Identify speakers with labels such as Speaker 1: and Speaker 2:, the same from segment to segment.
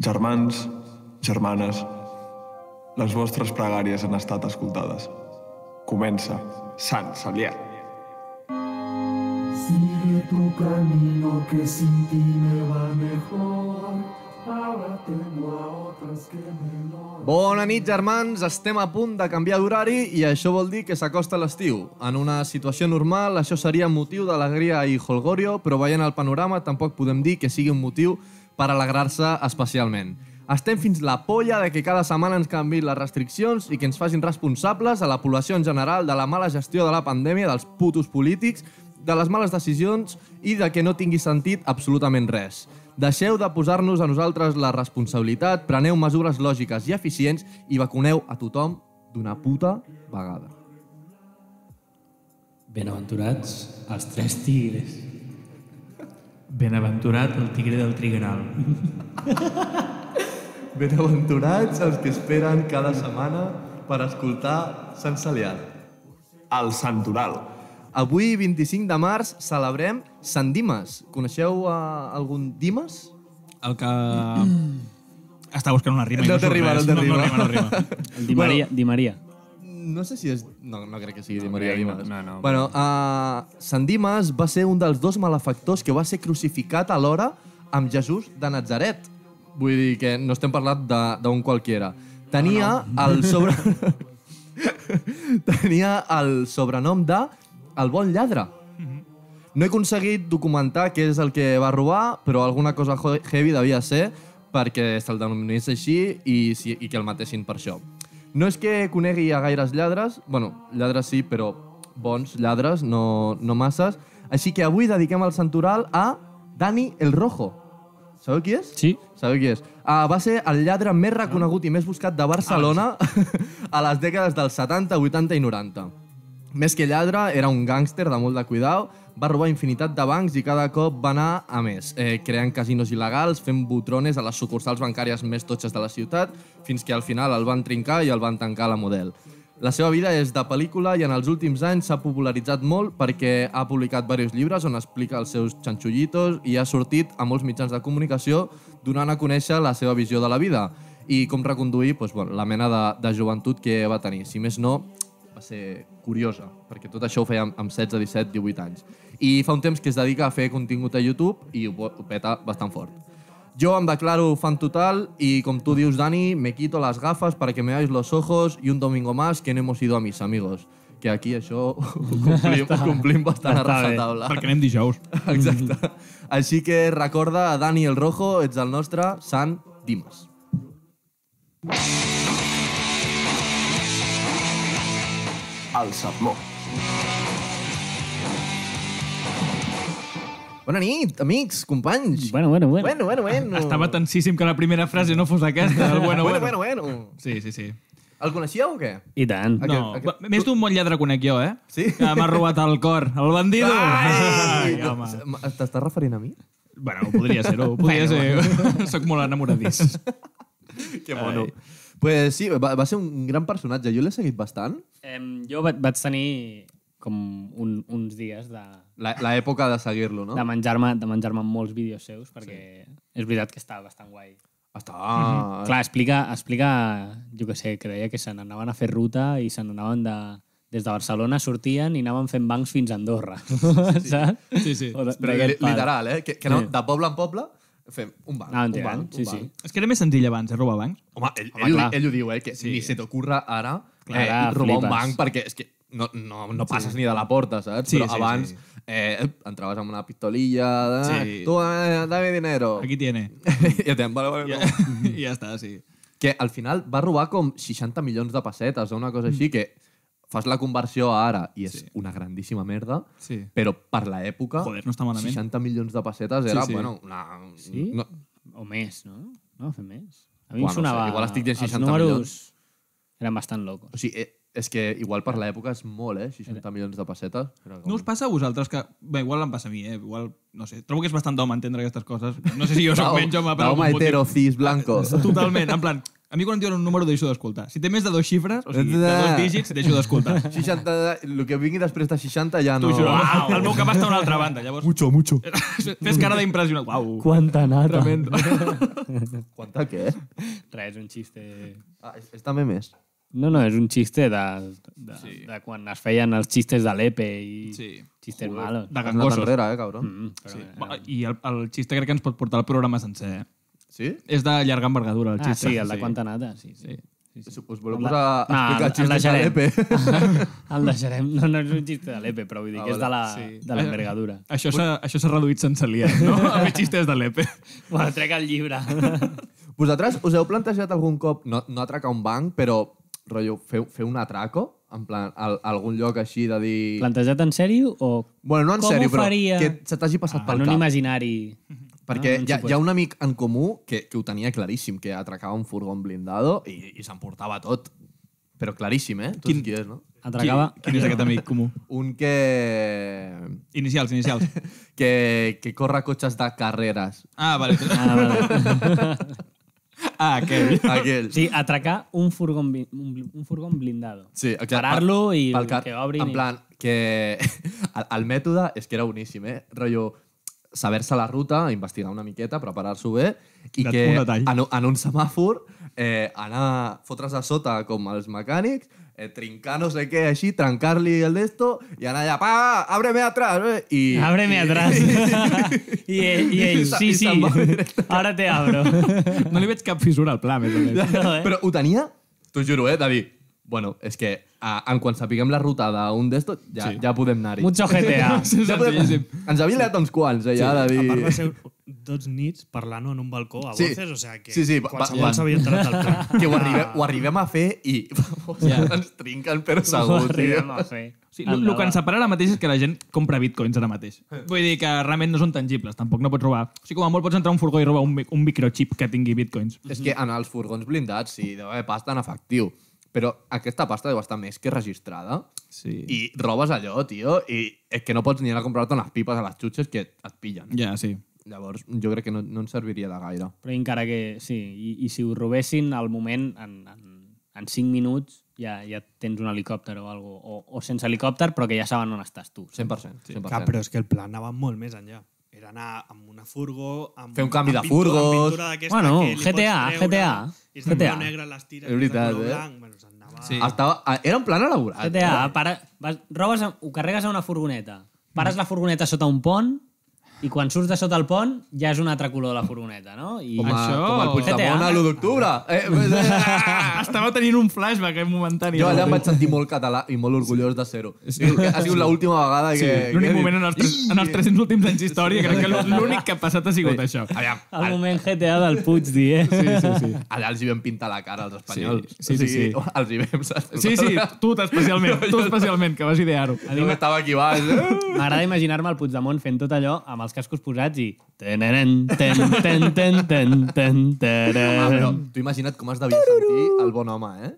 Speaker 1: Germans, germanes, les vostres pregàries han estat escoltades. Comença Sant Celià.
Speaker 2: Sigue tu camino que sin ti me va mejor. Ahora tengo a otras que me lo...
Speaker 3: Bona nit, germans. Estem a punt de canviar d'horari i això vol dir que s'acosta l'estiu. En una situació normal, això seria motiu d'alegria i holgorio, però veient el panorama tampoc podem dir que sigui un motiu per alegrar-se especialment. Estem fins la polla de que cada setmana ens canviïn les restriccions i que ens facin responsables a la població en general de la mala gestió de la pandèmia, dels putos polítics, de les males decisions i de que no tingui sentit absolutament res. Deixeu de posar-nos a nosaltres la responsabilitat, preneu mesures lògiques i eficients i vacuneu a tothom d'una puta vegada.
Speaker 4: Benaventurats els tres tigres.
Speaker 5: Benaventurat el tigre del Trigonal.
Speaker 3: Benaventurats els que esperen cada setmana per escoltar Sant Celià.
Speaker 1: El Sant Oral.
Speaker 3: Avui, 25 de març, celebrem Sant Dimes. Coneixeu uh, algun Dimes?
Speaker 5: El que... Està buscant una rima. i
Speaker 3: No
Speaker 5: surt
Speaker 3: t'arriba,
Speaker 5: res.
Speaker 3: no t'arriba.
Speaker 5: No, no rima, no rima.
Speaker 4: El Di Maria. Di Maria.
Speaker 3: No sé si és... No, no crec que sigui no, Maria
Speaker 5: crec,
Speaker 3: Dimas.
Speaker 5: no, no.
Speaker 3: Bueno, uh, Sant Dimas va ser un dels dos malefactors que va ser crucificat alhora amb Jesús de Nazaret. Vull dir que no estem parlant de- d'un qualquiera. Tenia no, no. el sobre... Tenia el sobrenom de El bon lladre. No he aconseguit documentar què és el que va robar, però alguna cosa jo- heavy devia ser perquè se'l denominés així i, si- i que el matessin per això. No és que conegui a gaires lladres, bueno, lladres sí, però bons lladres, no, no masses, així que avui dediquem el santoral a Dani el Rojo. Sabeu qui és?
Speaker 4: Sí.
Speaker 3: Sabeu qui és? Uh, va ser el lladre més reconegut i més buscat de Barcelona a les dècades dels 70, 80 i 90. Més que lladre, era un gàngster de molt de cuidado, va robar infinitat de bancs i cada cop va anar a més, eh, creant casinos il·legals, fent botrones a les sucursals bancàries més totxes de la ciutat, fins que al final el van trincar i el van tancar a la model. La seva vida és de pel·lícula i en els últims anys s'ha popularitzat molt perquè ha publicat diversos llibres on explica els seus xanxullitos i ha sortit a molts mitjans de comunicació donant a conèixer la seva visió de la vida i com reconduir doncs, bueno, la mena de, de joventut que va tenir. Si més no, va ser curiosa, perquè tot això ho feia amb- amb 16, 17, 18 anys. I fa un temps que es dedica a fer contingut a YouTube i ho, po- ho peta bastant fort. Jo em declaro fan total i, com tu dius, Dani, me quito las gafas para que me veáis los ojos y un domingo más que no hemos ido a mis amigos. Que aquí això ho complim, ho complim bastant a
Speaker 4: Està bé.
Speaker 3: rajatabla.
Speaker 5: Perquè anem dijous.
Speaker 3: Exacte. Així que recorda, Dani el Rojo, ets el nostre Sant Dimas.
Speaker 1: El Sermó.
Speaker 3: Bona nit, amics, companys.
Speaker 4: Bueno, bueno, bueno.
Speaker 3: bueno, bueno. bueno.
Speaker 5: Estava tensíssim que la primera frase no fos aquesta. El bueno,
Speaker 3: bueno,
Speaker 5: bueno.
Speaker 3: bueno, bueno.
Speaker 5: Sí, sí, sí.
Speaker 3: El coneixíeu o què?
Speaker 4: I tant.
Speaker 3: Aquest-
Speaker 5: No,
Speaker 3: aquest-
Speaker 5: va- més d'un bon lladre conec jo, eh?
Speaker 3: Sí?
Speaker 5: Que M'ha robat el cor. El bandido! Ai, home.
Speaker 3: T'estàs referint a mi?
Speaker 5: Bueno, podria ser-ho. Podria ser. Soc molt enamoradís.
Speaker 3: Que mono. Pues sí, va, va ser un gran personatge. Jo l'he seguit bastant.
Speaker 4: Em, jo vaig, vaig tenir com un, uns dies de,
Speaker 3: La- L'època de seguir-lo, no?
Speaker 4: de menjar-me de menjar molts vídeos seus perquè sí. és veritat que estava bastant guai.
Speaker 3: Està...
Speaker 4: Ah. Clar, explica, explica, jo que sé, que deia que se n'anaven a fer ruta i se n'anaven de, des de Barcelona sortien i anaven fent bancs fins a Andorra. Sí. Saps?
Speaker 5: Sí, sí.
Speaker 4: O de-
Speaker 3: Però li,
Speaker 4: d'aquest pal.
Speaker 3: literal, eh? Que, que no,
Speaker 4: Sí.
Speaker 3: de poble en poble fem un banc,
Speaker 4: Ah,
Speaker 3: un
Speaker 4: entenc.
Speaker 3: banc,
Speaker 4: Sí,
Speaker 3: un banc.
Speaker 4: sí.
Speaker 5: És que era més senzill abans, eh, robar bancs.
Speaker 3: Home, ell,
Speaker 4: Home,
Speaker 3: ell,
Speaker 4: clar.
Speaker 3: ell ho diu, eh? Que sí. ni se t'ocurra ara
Speaker 4: Clar,
Speaker 3: eh,
Speaker 4: ara
Speaker 3: robar un
Speaker 4: flipes.
Speaker 3: banc perquè és que no, no, no passes sí. ni de la porta, saps?
Speaker 5: Sí,
Speaker 3: Però
Speaker 5: sí,
Speaker 3: abans
Speaker 5: sí.
Speaker 3: Eh, entraves amb una pistolilla... De,
Speaker 5: Sí.
Speaker 3: Tu, eh, dame dinero.
Speaker 5: Aquí tiene.
Speaker 3: I et deien, vale, vale,
Speaker 5: Ja,
Speaker 3: vale.
Speaker 5: ja està, sí.
Speaker 3: Que al final va robar com 60 milions de pessetes o una cosa així, que fas la conversió a ara i és
Speaker 5: Mm. Sí.
Speaker 3: una grandíssima merda,
Speaker 5: Sí.
Speaker 3: però per l'època,
Speaker 5: Joder, no està malament.
Speaker 3: 60 milions de pessetes era,
Speaker 5: sí.
Speaker 3: bueno, una...
Speaker 4: Sí?
Speaker 3: No,
Speaker 4: O més, no? No, fer més. A mi
Speaker 3: Buah, no
Speaker 4: em sonava...
Speaker 3: sé, igual estic dient
Speaker 4: els
Speaker 3: 60
Speaker 4: números
Speaker 3: milions.
Speaker 4: Eren bastant locos.
Speaker 3: o sigui, eh, és que igual per l'època és molt, eh? 60 milions de pessetes. Era com-
Speaker 5: No us passa a vosaltres que... Bé, igual em passa a mi, eh? Igual, no sé. Trobo que és bastant d'home entendre aquestes coses. No sé si jo soc
Speaker 3: Dau-
Speaker 5: menys home, però...
Speaker 3: Daume
Speaker 5: algun motiu. Ah,
Speaker 3: hetero, cis, blanco.
Speaker 5: Totalment, en plan... A mi quan em diuen un número deixo d'escoltar. Si té més de dos xifres, o sigui, de dos dígits, deixo d'escoltar.
Speaker 3: 60, el que vingui després de 60 ja no... Ah!
Speaker 5: T'ho juro. Uau, el meu cap està a una altra banda. Llavors,
Speaker 3: Mucho, mucho.
Speaker 5: fes cara d'impressionat. Uau.
Speaker 4: Quanta nata.
Speaker 5: Tremendo.
Speaker 3: Quanta què?
Speaker 4: Res, un xiste...
Speaker 3: Ah, és, és també més.
Speaker 4: No, no, és un xiste de, de, sí.
Speaker 5: Sí.
Speaker 4: de quan es feien els xistes de l'Epe i sí.
Speaker 5: Sí.
Speaker 4: xistes Joder. malos.
Speaker 5: De
Speaker 3: Has anat
Speaker 5: gangosos.
Speaker 3: enrere, eh, cabron.
Speaker 4: Mm, però,
Speaker 5: Sí.
Speaker 4: sí.
Speaker 5: Va, I el, el xiste crec que ens pot portar el programa sencer. eh?
Speaker 3: Sí?
Speaker 5: És de llarga envergadura, el
Speaker 4: Ah,
Speaker 5: xiste.
Speaker 4: sí, el de quanta nata, sí. sí. sí. sí,
Speaker 3: Us,
Speaker 4: sí.
Speaker 3: us voleu posar a
Speaker 4: No,
Speaker 3: explicar
Speaker 4: el- el
Speaker 3: xistes de
Speaker 4: deixarem.
Speaker 3: l'EP?
Speaker 4: El deixarem. No, no és un xiste de l'Epe, però vull dir
Speaker 3: Ah,
Speaker 4: que és de la- de l'envergadura. Sí.
Speaker 5: Això s'ha això s'ha reduït sense liar, no? A més xistes de l'EPE.
Speaker 4: Bueno, trec el llibre.
Speaker 3: Vosaltres us heu plantejat algun cop, no, no atracar un banc, però, rotllo, fer, fer un atraco? En plan, al, a algun lloc així de dir...
Speaker 4: Plantejat en sèrio o
Speaker 3: Bueno, no en
Speaker 4: Com
Speaker 3: sèrio,
Speaker 4: ho
Speaker 3: però
Speaker 4: faria? Ah,
Speaker 3: que se t'hagi passat
Speaker 4: en
Speaker 3: pel
Speaker 4: un
Speaker 3: cap.
Speaker 4: imaginari?
Speaker 3: Perquè
Speaker 4: Ah,
Speaker 3: hi, ha, hi ha un amic en comú que, que ho tenia claríssim, que atracava un furgon blindado i, i s'emportava tot. Però claríssim, eh? Tu
Speaker 5: Quin-
Speaker 3: Quin... qui és, no?
Speaker 4: Atracava...
Speaker 5: Qui, quin és aquest amic comú?
Speaker 3: Un que...
Speaker 5: Inicials, inicials.
Speaker 3: que, que corre cotxes de carreres.
Speaker 5: Ah, vale.
Speaker 4: Ah, vale.
Speaker 5: Ah, aquell.
Speaker 3: Aquell.
Speaker 4: Sí, atracar un furgón, bli- un bli- un furgón blindado.
Speaker 3: Sí, exacte.
Speaker 4: Parar-lo i
Speaker 3: Pel
Speaker 4: que obrin
Speaker 3: En
Speaker 4: i-
Speaker 3: plan, que el, el mètode és que era boníssim, eh? Rollo, saber-se la ruta, investigar una miqueta, preparar-s'ho bé, i
Speaker 5: De-
Speaker 3: que
Speaker 5: un detall.
Speaker 3: en, en un semàfor eh, anar, fotre's a sota com els mecànics, eh, trincar no sé què així, trencar-li el d'esto i anar allà, pa, ábreme atrás, eh? I,
Speaker 4: Ábreme atrás. I ell, i ell
Speaker 3: I se-
Speaker 4: sí,
Speaker 3: i
Speaker 4: sí,
Speaker 3: se'n va
Speaker 4: ara te abro.
Speaker 5: No li veig cap fissura al pla, a més o menys.
Speaker 4: No, eh?
Speaker 3: Però ho tenia, t'ho juro, eh, de dir, bueno, és que a, en quan sapiguem la ruta d'un d'esto, ja,
Speaker 5: Sí.
Speaker 3: sí. ja podem anar-hi.
Speaker 4: Mucho GTA.
Speaker 5: Sí,
Speaker 3: Ja podem...
Speaker 5: senzillíssim.
Speaker 3: Ens havia liat uns quants, eh, ja, de
Speaker 6: A part va
Speaker 3: dir...
Speaker 6: ser dos nits parlant en un balcó a
Speaker 3: Sí.
Speaker 6: voces, o sigui que
Speaker 3: Sí, sí, va- va-
Speaker 6: qualsevol s'havia entrat al pla.
Speaker 3: Que ho arribem, ho arribem a fer i ja. ens trinquen, però segur, tio.
Speaker 4: Arribem a fer.
Speaker 5: Sí, el, el que ens separa ara mateix és que la gent compra bitcoins ara mateix. Vull dir que realment no són tangibles, tampoc no pots robar. O sigui, com a molt pots entrar a un furgó i robar un, mi- un microchip que tingui bitcoins.
Speaker 3: És que en els furgons blindats sí, deu haver pasta en efectiu. Però aquesta pasta deu estar més que registrada.
Speaker 5: Sí. I...
Speaker 3: I robes allò, tio, i és que no pots ni anar a comprar-te unes pipes a les xutxes que et pillen.
Speaker 5: Ja, sí.
Speaker 3: Llavors, jo crec que no, no ens serviria de gaire.
Speaker 4: Però encara que, sí, i, i si ho robessin al moment, en, en, en 5 minuts, ja, ja tens un helicòpter o algo, o, o sense helicòpter, però que ja saben on estàs tu.
Speaker 3: 100%. 100%.
Speaker 6: Clar, però és que el pla anava molt més enllà. Era anar amb una furgo... Amb,
Speaker 3: Fer un canvi
Speaker 6: amb
Speaker 3: de
Speaker 6: pintura- amb
Speaker 3: furgos.
Speaker 6: pintura d'aquesta
Speaker 4: Bueno,
Speaker 6: que li pots
Speaker 4: GTA,
Speaker 6: treure,
Speaker 4: GTA.
Speaker 6: I és de
Speaker 4: GTA.
Speaker 6: color negre les tires,
Speaker 3: És
Speaker 6: és de
Speaker 3: veritat,
Speaker 6: color
Speaker 3: eh?
Speaker 6: blanc. Bueno, s'anava...
Speaker 5: Sí.
Speaker 3: Estava, ah, era un plan elaborat.
Speaker 4: GTA, para, vas, robes, a- ho carregues a una furgoneta, pares la furgoneta sota un pont, i quan surts de sota el pont ja és un altre color la furgoneta, no? I
Speaker 3: Com, a,
Speaker 5: Això-
Speaker 3: com el Puigdemont
Speaker 4: GTA.
Speaker 3: a l'1 d'octubre. Eh, pues, eh,
Speaker 5: Ah, estava tenint un flashback momentani.
Speaker 3: jo allà em vaig sentir molt català i molt orgullós de ser-ho. Ha sigut l'última vegada
Speaker 5: Sí,
Speaker 3: que...
Speaker 5: l'únic
Speaker 3: que he dit,
Speaker 5: moment en els, tres, en els 300 últims anys d'història crec que l'únic que ha passat ha sigut això.
Speaker 3: Aviam,
Speaker 4: El moment GTA del Puigdi, eh? Sí, sí, sí.
Speaker 3: Allà els hi vam pintar la cara, als espanyols.
Speaker 5: Sí, sí, sí, sí.
Speaker 3: Els hi vam...
Speaker 5: Sí, sí, tu especialment, tu especialment, que vas idear-ho.
Speaker 3: Jo que estava aquí baix. Eh?
Speaker 4: M'agrada imaginar-me el Puigdemont fent tot allò amb els cascos posats i... Tenenen, ten, ten, ten, ten, ten,
Speaker 3: Ah,
Speaker 5: Eh.
Speaker 3: però
Speaker 4: tenen.
Speaker 3: tu imagina't com es devia sentir el bon home, eh?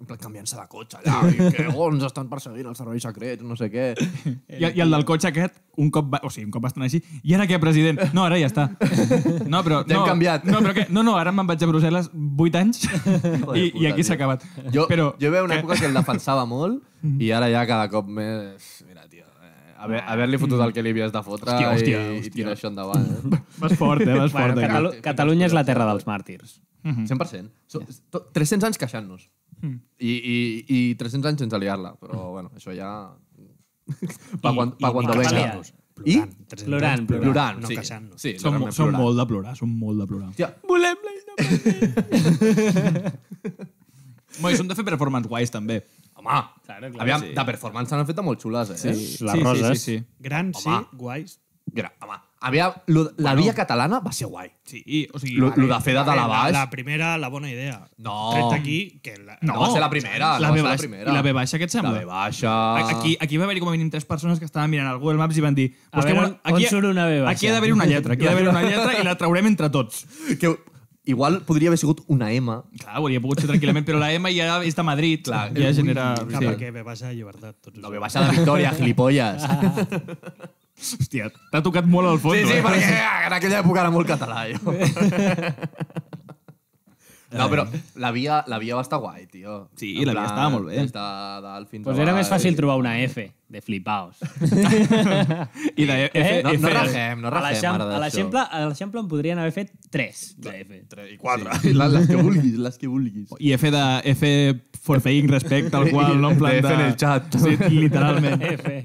Speaker 3: En plan, canviant-se de cotxe allà, i que oh, ens estan perseguint els serveis secrets, no sé què.
Speaker 5: I, I el del cotxe aquest, un cop, va, o sigui, un cop va estar així, i ara què, president? No, ara ja està. No, però...
Speaker 3: Ja hem
Speaker 5: no,
Speaker 3: canviat.
Speaker 5: No, però què? No, no, ara me'n vaig a Brussel·les 8 anys i, i
Speaker 3: puta,
Speaker 5: aquí s'ha
Speaker 3: tio.
Speaker 5: acabat.
Speaker 3: Jo,
Speaker 5: però, Mm.
Speaker 3: jo veia una època que el defensava molt i ara ja cada cop més... Mira, tio, eh, haver- haver-li fotut el que li havies de fotre
Speaker 5: Hòstia, hòstia,
Speaker 3: i,
Speaker 5: hòstia.
Speaker 3: i tirar això endavant. Eh?
Speaker 5: Vas fort, eh? Vas fort.
Speaker 4: Bueno,
Speaker 5: Bueno,
Speaker 4: Catalu Catalunya és la terra dels màrtirs.
Speaker 5: Mm-hmm.
Speaker 3: 100%. So, to- 300 anys queixant-nos.
Speaker 5: Mm.
Speaker 3: I, i, I 300 anys sense liar-la. Però, bueno, això ja... Pa quan, pa quan
Speaker 4: i
Speaker 3: venga.
Speaker 4: queixant-nos.
Speaker 3: I?
Speaker 6: Plorant, tres
Speaker 4: Plorant,
Speaker 6: minuts,
Speaker 3: Plorant,
Speaker 6: no
Speaker 3: sí.
Speaker 6: queixant-nos.
Speaker 3: Sí,
Speaker 5: som,
Speaker 3: realment
Speaker 5: som
Speaker 3: plorant.
Speaker 5: molt de plorar, som molt de plorar.
Speaker 3: Hòstia, Eh,
Speaker 5: Volem la independència. Bueno, i som de fer performance guais, també.
Speaker 3: home,
Speaker 4: Claro, clar,
Speaker 3: aviam,
Speaker 4: sí.
Speaker 3: de performance n'han fet de molt xules, eh? Sí.
Speaker 4: Les
Speaker 5: Sí,
Speaker 4: roses.
Speaker 5: sí, sí.
Speaker 6: Gran, sí,
Speaker 3: Home.
Speaker 6: guais.
Speaker 3: Gra, home, aviam, lo, la via catalana va ser guai.
Speaker 5: sí i, o sigui,
Speaker 3: Lo, lo de fer de dalt a
Speaker 6: la,
Speaker 3: baix...
Speaker 6: La primera, la bona idea.
Speaker 3: No.
Speaker 6: Tret aquí, que... La,
Speaker 3: No, va ser la primera.
Speaker 5: la
Speaker 3: no va
Speaker 5: B
Speaker 3: ser la
Speaker 5: baixa,
Speaker 3: primera.
Speaker 5: I la B baixa, què et
Speaker 3: La
Speaker 5: sembla?
Speaker 3: B baixa...
Speaker 5: Aquí, aquí va haver-hi com a mínim tres persones que estaven mirant el Google Maps i van dir
Speaker 4: A
Speaker 5: "Busquem
Speaker 4: veure, on surt una B baixa?"
Speaker 5: Aquí ha d'haver-hi una lletra, aquí ha d'haver una lletra i la traurem entre tots.
Speaker 3: que igual podria haver sigut una M.
Speaker 5: Clar, ho hauria pogut ser tranquil·lament, però la M ja és de Madrid, Clar, ja genera...
Speaker 6: Clar,
Speaker 5: Sí.
Speaker 6: perquè ve baixa llibertat. Tots
Speaker 3: La B baixa de Victòria, gilipolles.
Speaker 5: Hòstia, t'ha tocat molt al fons.
Speaker 3: Sí, sí,
Speaker 5: eh?
Speaker 3: perquè en aquella època era molt català, jo. No, però la via, la via va estar guai, tio.
Speaker 5: Sí, la via estava molt bé.
Speaker 3: Des de dalt fins
Speaker 4: Pues
Speaker 3: a
Speaker 4: era
Speaker 3: baix.
Speaker 4: més fàcil trobar una F, de flipaos.
Speaker 5: I de F,
Speaker 4: Eh?
Speaker 3: No,
Speaker 5: F,
Speaker 3: no rajem, no
Speaker 4: A
Speaker 3: rajem
Speaker 4: l'Eixam-
Speaker 3: ara
Speaker 4: a
Speaker 3: d'això.
Speaker 4: l'Eixample a l'Eixample en podrien haver fet 3 de F.
Speaker 3: I quatre. Sí. Les que vulguis, les que vulguis.
Speaker 5: I F de F for paying respect, al qual no en plan
Speaker 3: De
Speaker 5: de...
Speaker 3: F en el chat.
Speaker 5: Sí, literalment.
Speaker 4: F.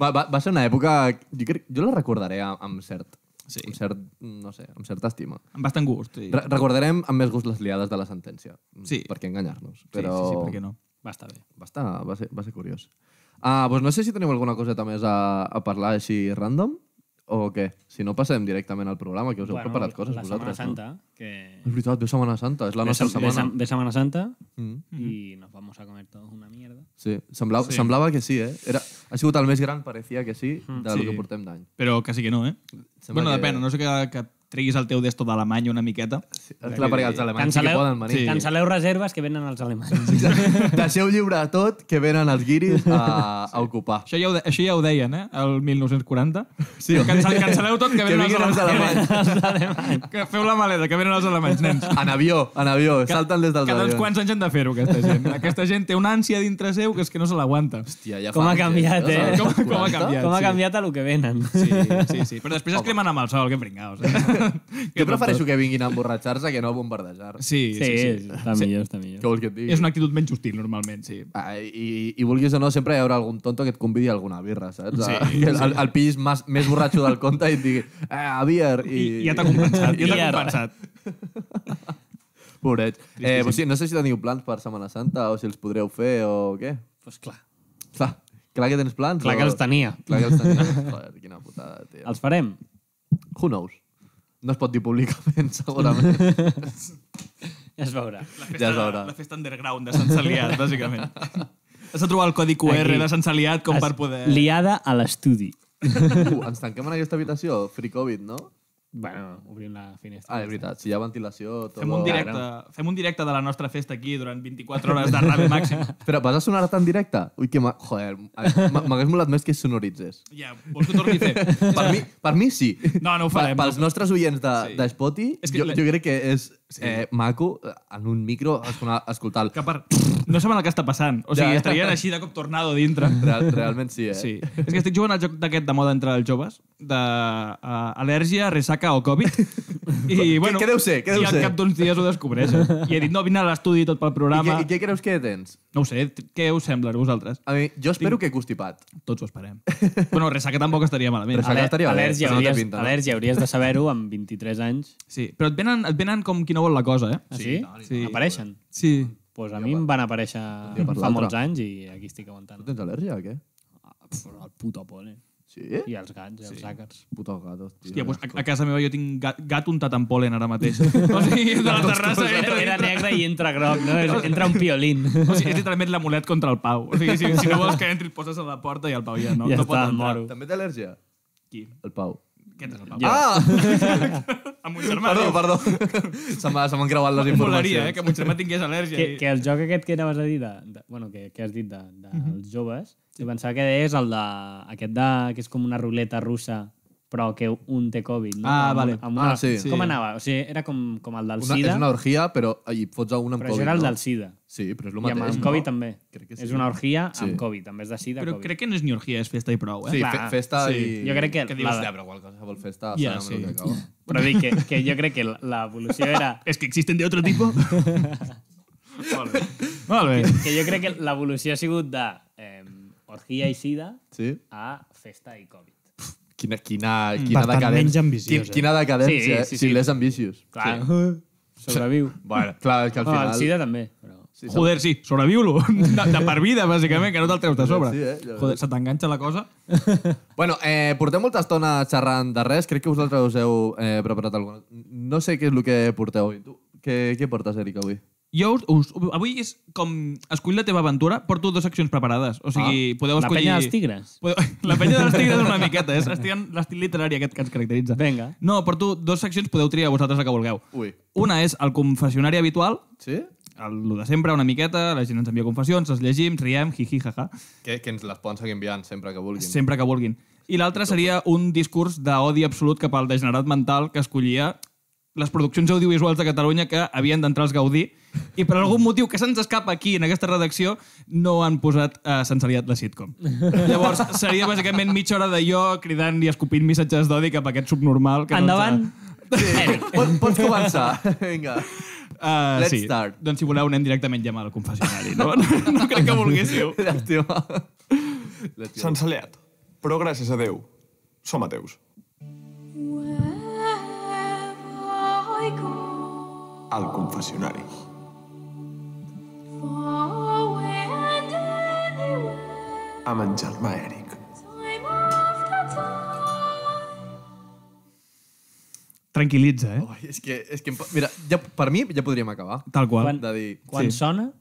Speaker 3: Va, va, va ser una època... Jo, crec, jo la recordaré amb, amb cert...
Speaker 5: Sí.
Speaker 3: Amb cert, no sé, amb certa estima.
Speaker 5: Amb bastant gust. Sí,
Speaker 3: Re Recordarem amb més gust les liades de la sentència.
Speaker 5: Sí.
Speaker 3: Per què enganyar-nos.
Speaker 5: sí, sí,
Speaker 3: Però
Speaker 5: sí, per què no?
Speaker 4: Va estar bé.
Speaker 3: Va, estar, va, ser, va ser curiós. Ah, doncs no sé si teniu alguna coseta més a, a parlar així random o què. Si no, passem directament al programa, que us heu
Speaker 4: Bueno,
Speaker 3: preparat coses
Speaker 4: la
Speaker 3: vosaltres.
Speaker 4: Setmana Santa,
Speaker 3: No?
Speaker 4: que...
Speaker 3: És veritat, ve Setmana Santa, és la nostra
Speaker 4: Ve- ve-
Speaker 3: setmana.
Speaker 4: ve Semana Santa
Speaker 3: Mm.
Speaker 4: y nos vamos a comer todos una mierda.
Speaker 3: Sí, semblava, sí. semblava que sí, eh? Era, ha sigut el més gran, parecia que sí, de sí.
Speaker 5: Sí.
Speaker 3: lo que portem d'any.
Speaker 5: Però quasi que no, eh?
Speaker 3: Sembla
Speaker 5: bueno,
Speaker 3: que-
Speaker 5: depèn, a no sé que, que triguis el teu desto d'Alemanya una miqueta. Sí.
Speaker 3: Clar, perquè els alemanys sí que
Speaker 4: Canceleu,
Speaker 3: poden venir.
Speaker 4: sí. canceleu reserves que venen els alemanys.
Speaker 3: Deixeu lliure a tot que venen els guiris a, a ocupar.
Speaker 5: Això ja, ho, de- això ja ho deien, eh? El 1940.
Speaker 3: Sí.
Speaker 5: Cancel, canceleu tot,
Speaker 3: Que
Speaker 5: que venen els
Speaker 3: vinguin els
Speaker 5: alemanys.
Speaker 3: alemanys.
Speaker 5: Que feu la maleta, que venen els alemanys, nens.
Speaker 3: En avió, en avió, salten des dels
Speaker 5: Cada uns
Speaker 3: avions.
Speaker 5: quants anys han de fer-ho, aquesta gent. Aquesta gent té una ànsia dintre seu que és que no se l'aguanta.
Speaker 3: Hòstia, ja
Speaker 4: Com
Speaker 3: fa
Speaker 4: ha
Speaker 3: anys,
Speaker 4: canviat,
Speaker 3: eh?
Speaker 4: eh?
Speaker 5: Com, com ha canviat,
Speaker 4: Com ha
Speaker 5: sí.
Speaker 4: canviat a lo que venen.
Speaker 5: Sí, sí, sí. Però després es cremen amb el sol, que pringaos. Eh?
Speaker 3: Jo prefereixo que vinguin a emborratxar-se que no a bombardejar.
Speaker 5: Sí, sí, sí. sí.
Speaker 4: està millor, està
Speaker 3: Què
Speaker 4: millor.
Speaker 3: vols que et digui?
Speaker 5: És una actitud menys hostil, normalment, sí.
Speaker 3: Ah, i, I vulguis o no, sempre hi haurà algun tonto que et convidi a alguna birra, saps?
Speaker 5: Sí,
Speaker 3: Ah, que el, el, el pillis més, més borratxo del compte i et digui, ah, beer, i...
Speaker 5: I, ja t'ha compensat, ja t'ha
Speaker 4: I ara.
Speaker 5: compensat.
Speaker 3: Pobret. Eh, pues sí, no sé si teniu plans per Setmana Santa o si els podreu fer o què.
Speaker 4: Pues clar,
Speaker 3: Clar, clar que tens plans.
Speaker 4: clar
Speaker 3: o...
Speaker 4: que els tenia.
Speaker 3: Clar que els tenia. Joder, quina putada, tio.
Speaker 4: Els farem.
Speaker 3: Who knows? No es pot dir públicament, segurament.
Speaker 4: Ja es veurà.
Speaker 3: ja es veurà.
Speaker 5: La festa underground de Sant Celiat, bàsicament. Has de trobar el codi QR
Speaker 4: Aquí.
Speaker 5: de Sant Celiat com per
Speaker 4: Es-
Speaker 5: poder...
Speaker 4: Liada a l'estudi.
Speaker 3: Uh, ens tanquem en aquesta habitació, free covid, no?
Speaker 4: Bueno, obrim la
Speaker 3: Ah,
Speaker 4: finestra.
Speaker 3: és veritat, si hi ha ventilació... Tot
Speaker 5: Fem un,
Speaker 3: lo-
Speaker 5: directe, fem un directe de la nostra festa aquí durant 24 hores de ràdio màxim.
Speaker 3: Però vas a sonar tan directe? Ui, que... ma- Joder, m- m'hagués molat més que es sonoritzés.
Speaker 5: Ja, vols que ho torni a fer?
Speaker 3: Per mi, per mi sí.
Speaker 5: No, no ho
Speaker 3: Pa-
Speaker 5: farem.
Speaker 3: Pels nostres oients de,
Speaker 5: Sí.
Speaker 3: sí. de Spotify,
Speaker 5: És que
Speaker 3: jo,
Speaker 5: la-
Speaker 3: jo crec que és eh, maco eh, en un micro esconar- escoltar el...
Speaker 5: Que per... No saben el que està passant. O sigui,
Speaker 3: Ja.
Speaker 5: ja. estarien així de cop tornado dintre.
Speaker 3: Real, realment sí, eh?
Speaker 5: Sí. És que estic jugant al joc d'aquest de moda entre els joves, de uh, al·lèrgia, ressaca o Covid. I, bueno,
Speaker 3: què deu ser? Què deu
Speaker 5: I al
Speaker 3: ser?
Speaker 5: cap d'uns dies ho descobreixen. I he dit, no, vine a l'estudi tot pel
Speaker 3: I, què,
Speaker 5: programa.
Speaker 3: I què creus que tens?
Speaker 5: No ho sé, t- què us sembla a vosaltres?
Speaker 3: A mi, jo espero que constipat.
Speaker 5: Tots ho esperem. bueno, ressaca tampoc estaria malament.
Speaker 3: Ressaca-
Speaker 4: Ale-
Speaker 3: estaria bé,
Speaker 4: Al·lèrgia,
Speaker 3: però no té
Speaker 4: hauries,
Speaker 3: pinta, no?
Speaker 4: al·lèrgia, hauries de saber-ho amb 23 anys.
Speaker 5: Sí, però et venen, et venen com qui no vol la cosa, eh?
Speaker 4: Ah, sí?
Speaker 5: Sí.
Speaker 4: Apareixen.
Speaker 5: Sí.
Speaker 4: Pues a mi em van aparèixer
Speaker 3: dia per
Speaker 4: fa
Speaker 3: l'altre.
Speaker 4: molts anys i aquí estic aguantant.
Speaker 3: Tu tens al·lèrgia o què?
Speaker 4: Pff, El puto polen.
Speaker 3: Sí?
Speaker 4: I els gats, i els sí. àcars.
Speaker 3: Putos gatos, tio.
Speaker 5: Hòstia, pues, a, a casa meva jo tinc gat, gat untat amb polen ara mateix. o sigui, de la terrassa
Speaker 4: Era,
Speaker 5: entra
Speaker 4: era
Speaker 5: dintre.
Speaker 4: negre i entra groc, no? És- Entra un piolín.
Speaker 5: O sigui, és literalment l'amulet contra el Pau. O sigui, si, si no vols que entri, et poses a la porta i el Pau ja no,
Speaker 4: Ja
Speaker 5: no pot
Speaker 4: està,
Speaker 5: entrar.
Speaker 4: moro.
Speaker 3: També té al·lèrgia?
Speaker 5: Qui?
Speaker 3: El Pau.
Speaker 5: Aquest és el Pau.
Speaker 4: Jo.
Speaker 3: Ah!
Speaker 5: Amb un germà.
Speaker 3: Perdó,
Speaker 5: diu.
Speaker 3: perdó. Se m'ha- se m'han creuat les informacions.
Speaker 5: Molaria, eh, que mon germà tingués al·lèrgia.
Speaker 4: que,
Speaker 5: i-
Speaker 4: que el joc aquest que anaves a dir, de, de, bueno, que, que has dit dels de, de els joves, jo pensava que és el de, aquest de, que és com una ruleta russa, però que un té Covid, no?
Speaker 5: Ah,
Speaker 4: Amb
Speaker 5: vale.
Speaker 4: una- Amb una,
Speaker 3: Ah, sí.
Speaker 4: Com
Speaker 5: Sí.
Speaker 4: anava? O sigui, era com, com el del
Speaker 3: Una,
Speaker 4: SIDA,
Speaker 3: és una orgia, però hi fots a un amb
Speaker 4: però
Speaker 3: Covid.
Speaker 4: això era el
Speaker 3: no?
Speaker 4: del SIDA.
Speaker 3: Sí, però és el
Speaker 4: I amb,
Speaker 3: mateix.
Speaker 4: amb
Speaker 3: no?
Speaker 4: Covid també.
Speaker 3: Crec que
Speaker 4: És
Speaker 3: sí.
Speaker 4: una orgia amb
Speaker 3: Sí.
Speaker 4: Covid, en vez de SIDA,
Speaker 5: Però
Speaker 4: Covid.
Speaker 5: crec que no és ni orgia, és festa i prou, eh?
Speaker 3: Sí,
Speaker 4: Clar.
Speaker 3: fe festa
Speaker 5: Sí.
Speaker 3: i...
Speaker 4: Jo crec que
Speaker 3: Que
Speaker 4: la-
Speaker 3: dius, ja, però qual qualsevol festa...
Speaker 5: Ja,
Speaker 3: Ja, sí.
Speaker 5: sí.
Speaker 3: Que acaba.
Speaker 4: Però dic que, que jo crec que la- l'evolució era...
Speaker 5: És que existen de otro tipo. Molt bé. Molt bé.
Speaker 4: Que jo crec que l'evolució ha sigut de eh, orgia i sida
Speaker 3: sí?
Speaker 4: a festa i Covid.
Speaker 3: Quina, quina,
Speaker 4: Mm.
Speaker 3: quina
Speaker 6: Bastant menys
Speaker 3: decadència.
Speaker 6: ambiciós,
Speaker 3: Quin-
Speaker 6: eh?
Speaker 3: Quina decadència,
Speaker 4: Sí, sí,
Speaker 3: sí, sí,
Speaker 4: sí.
Speaker 3: sí. si l'és ambiciós.
Speaker 4: Clar,
Speaker 3: Sí.
Speaker 4: sobreviu.
Speaker 3: Bueno, clar, és que al
Speaker 4: Bueno,
Speaker 3: final...
Speaker 4: el sida també, però...
Speaker 3: Sí, sí.
Speaker 5: Joder, sí, sobreviu-lo. De, de per vida, bàsicament, que no te'l treus de sobre.
Speaker 3: Sí, eh, ja
Speaker 5: Joder, se t'enganxa la cosa.
Speaker 3: Bueno, eh, portem molta estona xerrant de res. Crec que vosaltres us heu eh, preparat alguna No sé què és el que porteu avui. Tu, què, què portes, Eric, avui?
Speaker 5: Jo us, us, avui és com escull la teva aventura, porto dues seccions preparades. O sigui, podeu
Speaker 4: Ah, La
Speaker 5: escollir...
Speaker 4: penya dels tigres.
Speaker 5: Podeu... La penya dels tigres una miqueta, és l'estil- l'estil literari aquest que ens caracteritza.
Speaker 4: Vinga.
Speaker 5: No, porto dues seccions, podeu triar vosaltres la que vulgueu.
Speaker 3: Ui.
Speaker 5: Una és el confessionari habitual,
Speaker 3: Sí?
Speaker 5: el, lo de sempre, una miqueta, la gent ens envia confessions, les llegim, riem, hi-hi, ha-ha,
Speaker 3: Que, que ens les poden seguir enviant sempre que vulguin.
Speaker 5: sempre que vulguin. I l'altra seria un discurs d'odi absolut cap al degenerat mental que escollia les produccions audiovisuals de Catalunya que havien d'entrar als Gaudí i per algun motiu que se'ns escapa aquí, en aquesta redacció, no han posat a eh, Sensariat la sitcom. Llavors, seria bàsicament mitja hora de jo cridant i escopint missatges d'odi cap a aquest subnormal. Que
Speaker 4: Endavant.
Speaker 5: No ens ha-
Speaker 3: Pots, pots començar. Vinga.
Speaker 5: Uh,
Speaker 3: Let's
Speaker 5: sí.
Speaker 3: start.
Speaker 5: Doncs si voleu anem directament ja mal al confessionari. No, no, no crec que vulguéssiu.
Speaker 3: Llàstima.
Speaker 1: S'han saliat, però gràcies a Déu, som ateus.
Speaker 7: Wherever I go,
Speaker 1: Al confessionari.
Speaker 7: far away and anywhere,
Speaker 1: Amb en germà Eric.
Speaker 7: time after time.
Speaker 5: Tranquil·litza, eh?
Speaker 3: Ui, és que, és que em po- mira, ja, per mi ja podríem acabar.
Speaker 5: Tal qual.
Speaker 4: Quan,
Speaker 3: De dir,
Speaker 4: quan
Speaker 5: sí.
Speaker 4: sí. sona,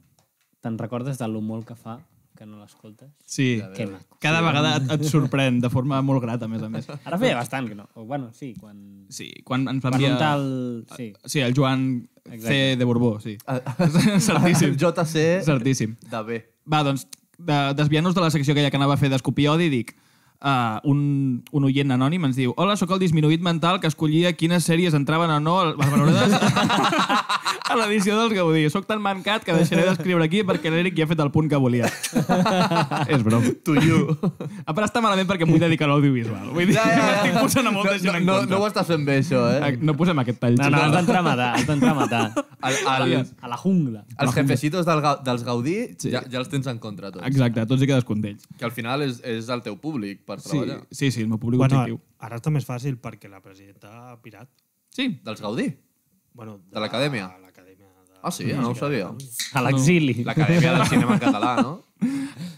Speaker 4: te'n recordes de lo molt que fa que no l'escoltes?
Speaker 5: Sí.
Speaker 4: Que maco.
Speaker 5: Cada vegada et, et sorprèn de forma molt grata, a més a més.
Speaker 4: Ara feia bastant que no. O, bueno, sí, quan...
Speaker 5: Sí, quan ens
Speaker 4: Quan
Speaker 5: l'envia...
Speaker 4: un tal... Sí.
Speaker 5: Sí, el Joan
Speaker 4: Exacte. Ah,
Speaker 5: C. de Borbó, sí.
Speaker 3: el
Speaker 5: Certíssim.
Speaker 3: JC
Speaker 5: Certíssim.
Speaker 3: de B.
Speaker 5: Va, doncs, de, desviant-nos de la secció aquella que anava a fer d'escopir odi, dic... Uh, un, un oient anònim ens diu Hola, sóc el disminuït mental que escollia quines sèries entraven o no al- les valorades a l'edició dels Gaudí. Sóc tan mancat que deixaré d'escriure aquí perquè l'Eric ja ha fet el punt que volia. És broma.
Speaker 3: To you.
Speaker 5: A part està malament perquè m'ho vull dedicar a l'audiovisual. Vull dir, ja, ja, ja. estic posant a molta
Speaker 3: no,
Speaker 5: gent
Speaker 3: no,
Speaker 5: en
Speaker 3: no,
Speaker 5: compte.
Speaker 3: no ho estàs fent bé, això, eh?
Speaker 5: no posem aquest tall.
Speaker 4: No, no, has d'entrar a matar, has d'entrar a matar.
Speaker 3: El, el,
Speaker 4: Al, a la jungla.
Speaker 3: els jefecitos del, Ga- dels Gaudí ja, ja els tens en contra, tots.
Speaker 5: Exacte, tots i cadascun d'ells.
Speaker 3: Que al final és, és el teu públic per
Speaker 5: Sí,
Speaker 3: treballar.
Speaker 5: sí, sí, el meu públic
Speaker 6: Bueno,
Speaker 5: objectiu.
Speaker 6: ara està més fàcil perquè la presidenta ha pirat.
Speaker 5: Sí,
Speaker 3: Dels Gaudí?
Speaker 6: Bueno, de,
Speaker 3: l'acadèmia?
Speaker 6: de l'acadèmia de-
Speaker 3: Ah, sí? No ho sabia.
Speaker 4: A l'exili.
Speaker 3: L'Acadèmia del Cinema en Català, no?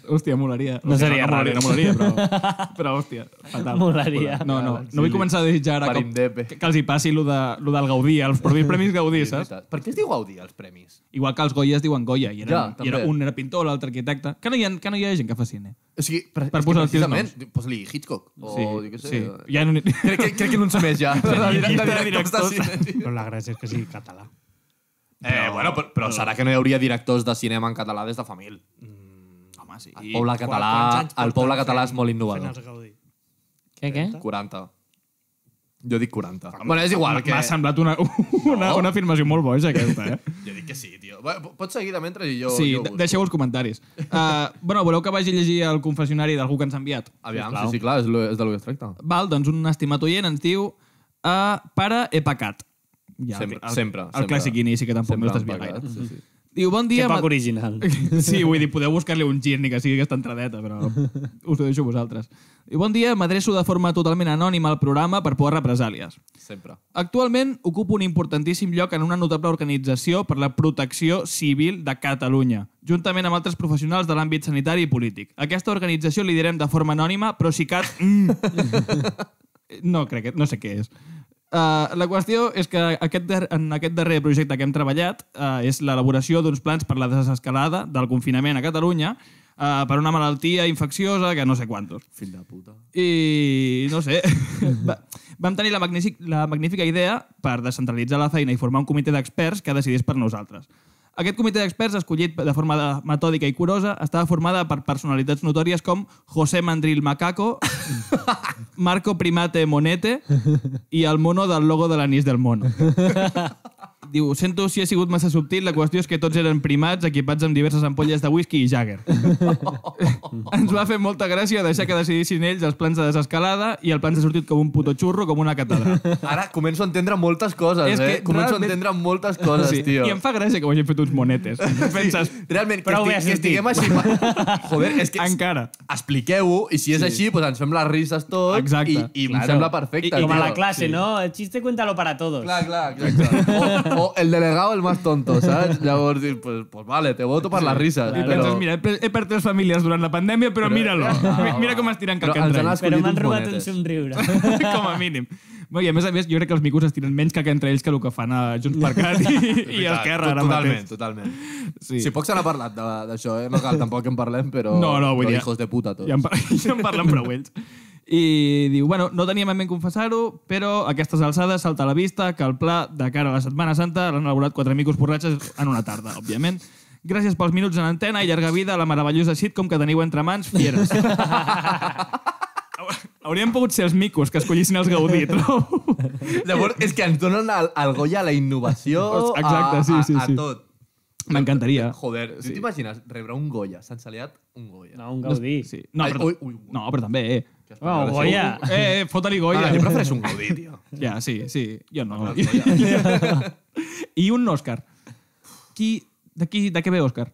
Speaker 5: hòstia, molaria.
Speaker 4: No
Speaker 5: O sigui,
Speaker 4: seria
Speaker 5: no, molaria,
Speaker 4: res.
Speaker 5: no molaria, però, però hòstia, fatal.
Speaker 4: Molaria.
Speaker 5: No, no, no vull començar a desitjar ara
Speaker 3: Per
Speaker 5: que,
Speaker 3: IMDb.
Speaker 5: que, que els hi passi lo, de, lo del Gaudí, eh, els propis premis Gaudí,
Speaker 3: És
Speaker 5: saps?
Speaker 3: veritat. Per què es diu Gaudí, els premis?
Speaker 5: Igual que els Goya es diuen Goya, i,
Speaker 3: Ja,
Speaker 5: eren, i era,
Speaker 3: també.
Speaker 5: un era pintor, l'altre arquitecte. Que no, hi ha, que no hi ha gent que fa cine.
Speaker 3: O sigui, per,
Speaker 5: Per
Speaker 3: és que
Speaker 5: posar els teus
Speaker 3: precisament, Posa-li Hitchcock. O,
Speaker 5: sí,
Speaker 3: Oh, jo què sé.
Speaker 5: sí. Ja no... n'hi-
Speaker 3: Crec, que, crec que no en sé més, ja. De, de, de,
Speaker 5: llista de
Speaker 3: directors de cine.
Speaker 6: Però la gràcia és que sigui català.
Speaker 3: Eh, bueno, però, però serà que no hi hauria directors de cinema en català des de fa mil. Mm,
Speaker 5: Home, sí.
Speaker 3: El poble català,
Speaker 6: Quants anys
Speaker 3: el poble
Speaker 6: porten
Speaker 3: català
Speaker 6: fent-
Speaker 3: és molt innovador.
Speaker 6: Fent els Gaudí.
Speaker 4: Què, què?
Speaker 3: 40. Jo dic 40. Bueno, és igual que...
Speaker 5: M'ha semblat una, una, una afirmació molt boja, aquesta, eh?
Speaker 3: Jo dic que sí, tio. Bé, po- Pots seguir de mentre i jo...
Speaker 5: Sí,
Speaker 3: jo ho
Speaker 5: de-
Speaker 3: busco.
Speaker 5: deixeu els comentaris. Uh, bueno, voleu que vagi a llegir el confessionari d'algú que ens ha enviat?
Speaker 3: Aviam, sí, sí, clar, és, lo, és de lo que es tracta.
Speaker 5: Val, doncs un estimat oient ens diu uh, Pare, he pecat. Ja,
Speaker 3: Sempre, sempre,
Speaker 5: El,
Speaker 3: sempre.
Speaker 5: el clàssic inici, que tampoc
Speaker 3: Sempre
Speaker 5: no estàs bien
Speaker 3: empacat,
Speaker 5: gaire.
Speaker 3: sí, sí.
Speaker 5: Diu, bon
Speaker 4: Que
Speaker 5: dia...
Speaker 4: poc
Speaker 5: ma-
Speaker 4: original.
Speaker 5: Sí, vull dir, podeu buscar-li un gir ni que sigui aquesta entradeta, però us ho deixo a vosaltres. Diu, bon dia, m'adreço de forma totalment anònima al programa per por a represàlies.
Speaker 3: Sempre.
Speaker 5: Actualment ocupo un importantíssim lloc en una notable organització per la protecció civil de Catalunya, juntament amb altres professionals de l'àmbit sanitari i polític. Aquesta organització liderem de forma anònima, però si cal... Mm. No crec, que- no sé què és. Uh, la qüestió és que aquest dar en aquest darrer projecte que hem treballat uh, és l'elaboració d'uns plans per la desescalada del confinament a Catalunya uh, per una malaltia infecciosa que no sé quantos.
Speaker 3: Fill de puta.
Speaker 5: I no sé, va, vam tenir la, magnífic, la magnífica idea per descentralitzar la feina i formar un comitè d'experts que decidís per nosaltres. Aquest comitè d'experts, escollit de forma de- metòdica i curosa, estava formada per personalitats notòries com José Mandril Macaco, Marco Primate Monete i el mono del logo de l'anís del món. Diu, sento si he sigut massa subtil, la qüestió és que tots eren primats equipats amb diverses ampolles de whisky i Jagger. Ens va fer molta gràcia deixar que decidissin ells els plans de desescalada i el plan s'ha sortit com un puto xurro, com una català.
Speaker 3: Ara començo a entendre moltes coses,
Speaker 5: És que
Speaker 3: eh? Començo
Speaker 5: realment-
Speaker 3: a entendre moltes coses,
Speaker 5: Sí.
Speaker 3: tio.
Speaker 5: I em fa gràcia que ho hagin fet uns monetes. Penses,
Speaker 3: Realment, que,
Speaker 5: Prou bé
Speaker 3: esti
Speaker 5: has
Speaker 3: que
Speaker 5: sentit.
Speaker 3: estiguem així... pa- Joder, és que...
Speaker 5: encara.
Speaker 3: Expliqueu-ho, i si és així, doncs ens fem les risses tots
Speaker 5: Exacte.
Speaker 3: i, i em
Speaker 5: Claro.
Speaker 3: sembla perfecte.
Speaker 5: I- i
Speaker 4: Com a
Speaker 3: tio.
Speaker 4: la classe, no? El chiste cuéntalo para todos.
Speaker 3: Clar, clar, exacte. O, o el delegado el más tonto, saps? Llavors dius, pues, pues vale, te voto per les risses.
Speaker 5: I penses, mira, he per- he perdut les famílies durant la pandèmia, però, mira-lo. Mi- Mira com estiren
Speaker 3: Ah, Però
Speaker 5: cap
Speaker 3: ens
Speaker 5: entre
Speaker 3: han
Speaker 5: ells.
Speaker 3: escollit eh.
Speaker 4: Però m'han
Speaker 3: uns
Speaker 4: robat un
Speaker 3: monetes.
Speaker 4: somriure.
Speaker 5: com a mínim. Bé, I a més a més, jo crec que els micos estiren menys que entre ells que el que fan a Junts per Cat i, i Esquerra ara
Speaker 3: Totalment,
Speaker 5: mateix.
Speaker 3: totalment.
Speaker 5: Sí.
Speaker 3: Si poc se n'ha parlat de- d'això, eh? No cal tampoc en parlem, però...
Speaker 5: No, no, vull
Speaker 3: però
Speaker 5: dir-
Speaker 3: Hijos de puta, tots.
Speaker 5: Ja en, par- ja en parlen prou ells. I diu, bueno, no teníem en ment confessar-ho, però a aquestes alçades salta a la vista que el pla de cara a la Setmana Santa l'han elaborat quatre micos borratxes en una tarda, òbviament. Gràcies pels minuts en antena i llarga vida a la meravellosa sitcom que teniu entre mans, fieres. Hauríem pogut ser els micos que escollissin els Gaudí, trobo.
Speaker 3: Llavors, és que ens donen el, el Goya a la innovació,
Speaker 5: Exacte,
Speaker 3: a,
Speaker 5: sí, sí,
Speaker 3: a, a
Speaker 5: sí. Ah,
Speaker 3: tot.
Speaker 5: M'encantaria.
Speaker 3: Joder, sí. tu t'imagines rebre un Goya, s'han saliat un Goya.
Speaker 4: No, un Gaudí.
Speaker 5: Sí. No,
Speaker 3: Ai,
Speaker 5: però,
Speaker 3: ui, ui.
Speaker 5: no, però també... Eh,
Speaker 4: Uau, Goya.
Speaker 5: eh, eh fota-li Goya.
Speaker 3: Ara, jo prefereixo Ah, un Gaudí, tio.
Speaker 5: Ja, sí, sí. Jo no. I un Òscar. Qui, de, qui, de què ve Òscar?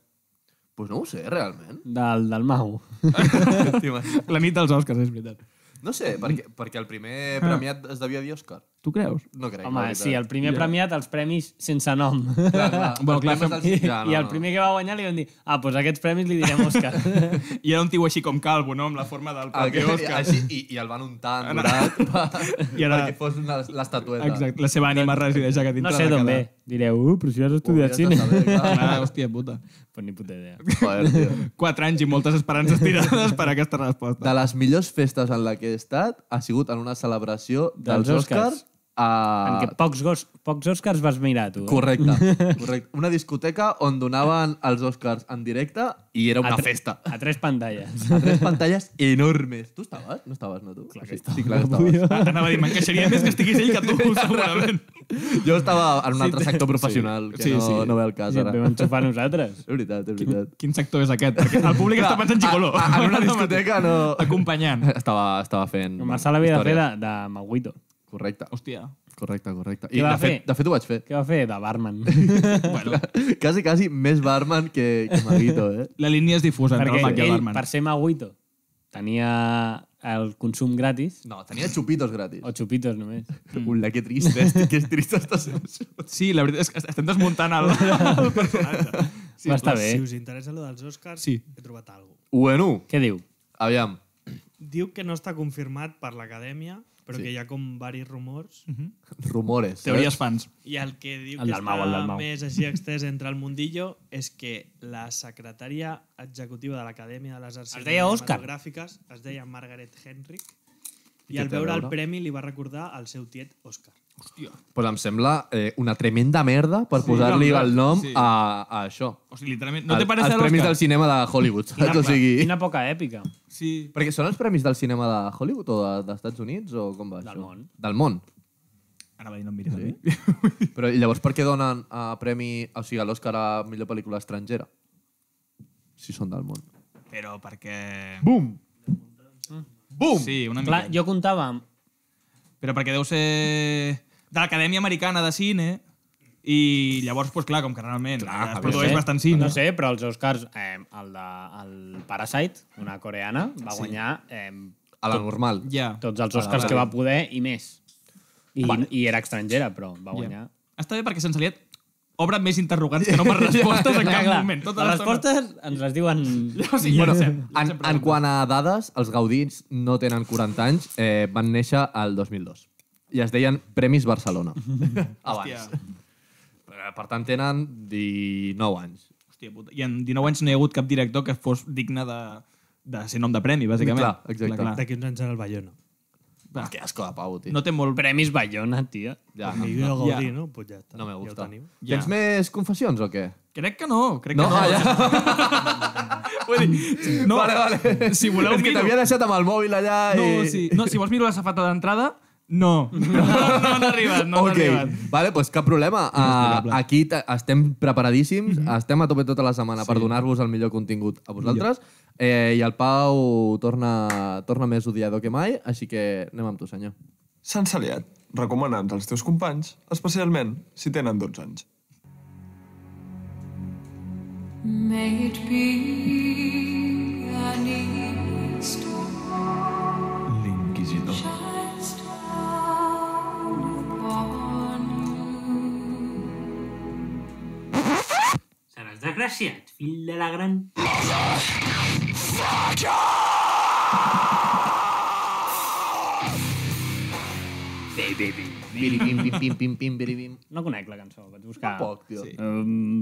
Speaker 3: Pues no ho sé, realment.
Speaker 4: Del, del Mau.
Speaker 3: T'imagines?
Speaker 5: La nit dels Òscars, és veritat.
Speaker 3: no sé, perquè, perquè el primer premiat es devia dir Òscar.
Speaker 5: Tu creus?
Speaker 3: No crec. la
Speaker 4: Home,
Speaker 3: veritat.
Speaker 4: sí, el primer premiat, els premis sense nom.
Speaker 3: Clar, clar.
Speaker 5: Bueno,
Speaker 3: Els
Speaker 5: clar,
Speaker 3: premis dels-
Speaker 4: I,
Speaker 3: Ja, no,
Speaker 4: I el
Speaker 3: no.
Speaker 4: primer que va guanyar li van dir ah, doncs aquests premis li direm Òscar.
Speaker 5: I era un tio així com calvo, no? Amb la forma del
Speaker 3: El que,
Speaker 5: propi Òscar.
Speaker 3: així, i, I el van untar en dorat per,
Speaker 5: I ara-
Speaker 3: perquè fos una- l'estatueta.
Speaker 5: Exacte, la seva ànima resideix a dintre
Speaker 4: no sé
Speaker 5: de
Speaker 4: d'on
Speaker 5: cada...
Speaker 4: ve. Direu, uh, però si has
Speaker 3: Ho hauries
Speaker 4: estudiat
Speaker 3: de
Speaker 4: cine.
Speaker 3: saber, clar.
Speaker 5: Ah, hòstia puta.
Speaker 4: Pues ni puta idea.
Speaker 3: Joder, tio.
Speaker 5: Quatre anys i moltes esperances tirades per aquesta resposta.
Speaker 3: De les millors festes en la que he estat ha sigut en una celebració dels,
Speaker 4: Dels
Speaker 3: Oscars
Speaker 4: Oscars. En
Speaker 3: a...
Speaker 4: què pocs, gos, pocs Òscars vas mirar, tu. eh?
Speaker 3: Ah. Correcte, correcte. Una discoteca on donaven els Oscars en directe i era una
Speaker 4: tre-
Speaker 3: festa.
Speaker 4: A tres pantalles.
Speaker 3: A tres pantalles enormes. Tu estaves? No estaves, no, tu? Clar que sí, clar que estaves.
Speaker 5: Ah, Anava a dir, m'encaixaria més que estigués ell que tu, segurament.
Speaker 3: Jo estava en un altre sector professional, que
Speaker 5: sí,
Speaker 3: no,
Speaker 5: sí.
Speaker 3: no ve el cas
Speaker 4: Si et
Speaker 3: ara.
Speaker 4: vam enxufar a nosaltres.
Speaker 3: És veritat, és veritat.
Speaker 5: Quin sector és aquest? Perquè el públic està pensant xicolo.
Speaker 3: A, a, en una discoteca no...
Speaker 5: Acompanyant.
Speaker 3: Estava, estava fent...
Speaker 4: Com Marçal havia de fer de,
Speaker 3: històries.
Speaker 4: de Maguito.
Speaker 3: Correcte,
Speaker 5: Hòstia.
Speaker 3: correcte, correcte. I
Speaker 4: Què va
Speaker 3: de fet,
Speaker 4: fer?
Speaker 3: de fet ho vaig fer.
Speaker 4: Què va fer? De barman.
Speaker 5: Bueno,
Speaker 3: Quasi, quasi més barman que, que Maguito, eh?
Speaker 5: la línia és difusa entre
Speaker 4: Perquè
Speaker 5: el Mac i el
Speaker 4: ell,
Speaker 5: Barman.
Speaker 4: per ser Maguito, tenia el consum gratis
Speaker 3: No, tenia xupitos gratis.
Speaker 4: o xupitos només.
Speaker 3: Ula, que trist, eh? que trist estàs.
Speaker 5: Sí, la veritat és que estem desmuntant el, el personatge.
Speaker 4: Sí, Va estar bé.
Speaker 6: Si us interessa lo dels Oscars,
Speaker 5: Sí.
Speaker 6: he trobat alguna cosa.
Speaker 3: Bueno,
Speaker 4: Què diu?
Speaker 3: aviam.
Speaker 6: Diu que no està confirmat per l'acadèmia, però sí. que hi ha com varis rumors.
Speaker 3: Rumores.
Speaker 5: Teories fans.
Speaker 6: I el que diu
Speaker 4: El
Speaker 6: que
Speaker 4: del Mau, el del
Speaker 6: està
Speaker 4: Mau.
Speaker 6: més així extès entre el mundillo és que la secretària executiva de l'Acadèmia de les Arts
Speaker 4: Es deia Òscar.
Speaker 6: Cinematogràfiques es deia Margaret Henrik
Speaker 3: I
Speaker 6: i,
Speaker 3: què
Speaker 6: al
Speaker 3: té a
Speaker 6: veure el
Speaker 3: veure?
Speaker 6: premi li va recordar al seu tiet Òscar.
Speaker 3: Pues em sembla eh, una tremenda merda per sí, posar-li
Speaker 5: clar,
Speaker 3: el nom
Speaker 5: sí.
Speaker 3: sí. a, a això.
Speaker 5: O sigui, literalment... No
Speaker 3: Al-
Speaker 5: te parece
Speaker 3: els premis
Speaker 5: l'Òscar?
Speaker 3: del cinema de Hollywood, saps? O sigui...
Speaker 4: Quina poca èpica.
Speaker 5: Sí.
Speaker 3: Perquè són els premis del cinema de Hollywood o de- d'Estats de, Units o com va
Speaker 4: Del
Speaker 3: això?
Speaker 4: món.
Speaker 3: Del món.
Speaker 5: Ara va dir, no em miris sí. a mi.
Speaker 3: Però i llavors per què donen a premi, o sigui, a l'Oscar a millor pel·lícula estrangera? Si són del món.
Speaker 5: Però perquè...
Speaker 3: Bum! Bum!
Speaker 5: Sí, una mica.
Speaker 4: Clar, jo comptava amb...
Speaker 5: Però perquè deu ser de l'Acadèmia Americana de Cine i llavors, doncs clar, com que realment clar, es produeix
Speaker 4: sé,
Speaker 5: bastant cine.
Speaker 4: eh? No sé, però els Oscars, eh, el de el Parasite, una coreana, va guanyar eh,
Speaker 3: A la normal.
Speaker 5: Ja.
Speaker 4: tots els Oscars que va poder i més. I, i era estrangera, però va guanyar.
Speaker 5: Està bé perquè sense liat obre més interrogants que no per respostes en cap moment. Tota
Speaker 4: les
Speaker 5: l'estona.
Speaker 4: respostes ens les diuen...
Speaker 5: O sigui,
Speaker 3: bueno,
Speaker 5: bueno, ja
Speaker 3: en, en quant a dades, els Gaudins no tenen 40 anys, eh, van néixer al 2002. I es deien Premis Barcelona. Abans.
Speaker 5: Hòstia.
Speaker 3: Eh, Per tant, tenen 19 anys.
Speaker 5: Hòstia puta. I en 19 anys no hi ha hagut cap director que fos digne de, de ser nom de premi, bàsicament.
Speaker 3: Clar, exacte.
Speaker 5: Clar, clar.
Speaker 6: D'aquí uns anys era el Bayona.
Speaker 5: Va.
Speaker 3: Que asco de pau, tio.
Speaker 5: No té molt...
Speaker 4: Premis Bayona, tio.
Speaker 3: ja, no.
Speaker 6: Miguel Gaudí,
Speaker 5: Ja.
Speaker 6: no? Pues ja està.
Speaker 3: No me
Speaker 6: Ja ho
Speaker 3: gusta.
Speaker 6: teniu.
Speaker 5: Ja.
Speaker 3: Tens més confessions o què?
Speaker 5: Crec que no, crec
Speaker 3: No,
Speaker 5: que no.
Speaker 3: ah, ja.
Speaker 5: Vull dir, no.
Speaker 3: Vale, vale.
Speaker 5: Si voleu,
Speaker 3: És que
Speaker 5: miro.
Speaker 3: t'havia deixat amb el mòbil allà
Speaker 5: No,
Speaker 3: i...
Speaker 5: sí. no, si vols miro la safata d'entrada, no. No, no han arribat, no han
Speaker 3: ok,
Speaker 5: arribat.
Speaker 3: vale, doncs cap problema. Uh, aquí te- estem preparadíssims, estem a tope tota la setmana per donar-vos el millor contingut a vosaltres. Eh, I el Pau torna, torna més odiador que mai, així que anem amb tu, senyor.
Speaker 1: S'han saliat, recomana'ns als teus companys, especialment si tenen 12 anys.
Speaker 7: May it be an evening star
Speaker 1: L'inquisidor.
Speaker 7: shines down upon you.
Speaker 8: Seràs desgraciat, fill de la gran... Bé, bé, bé.
Speaker 3: Biri, bim, bim, bim, bim, bim, biri, bim.
Speaker 4: No conec la cançó, vaig buscar...
Speaker 3: Poc, tio.
Speaker 4: Um,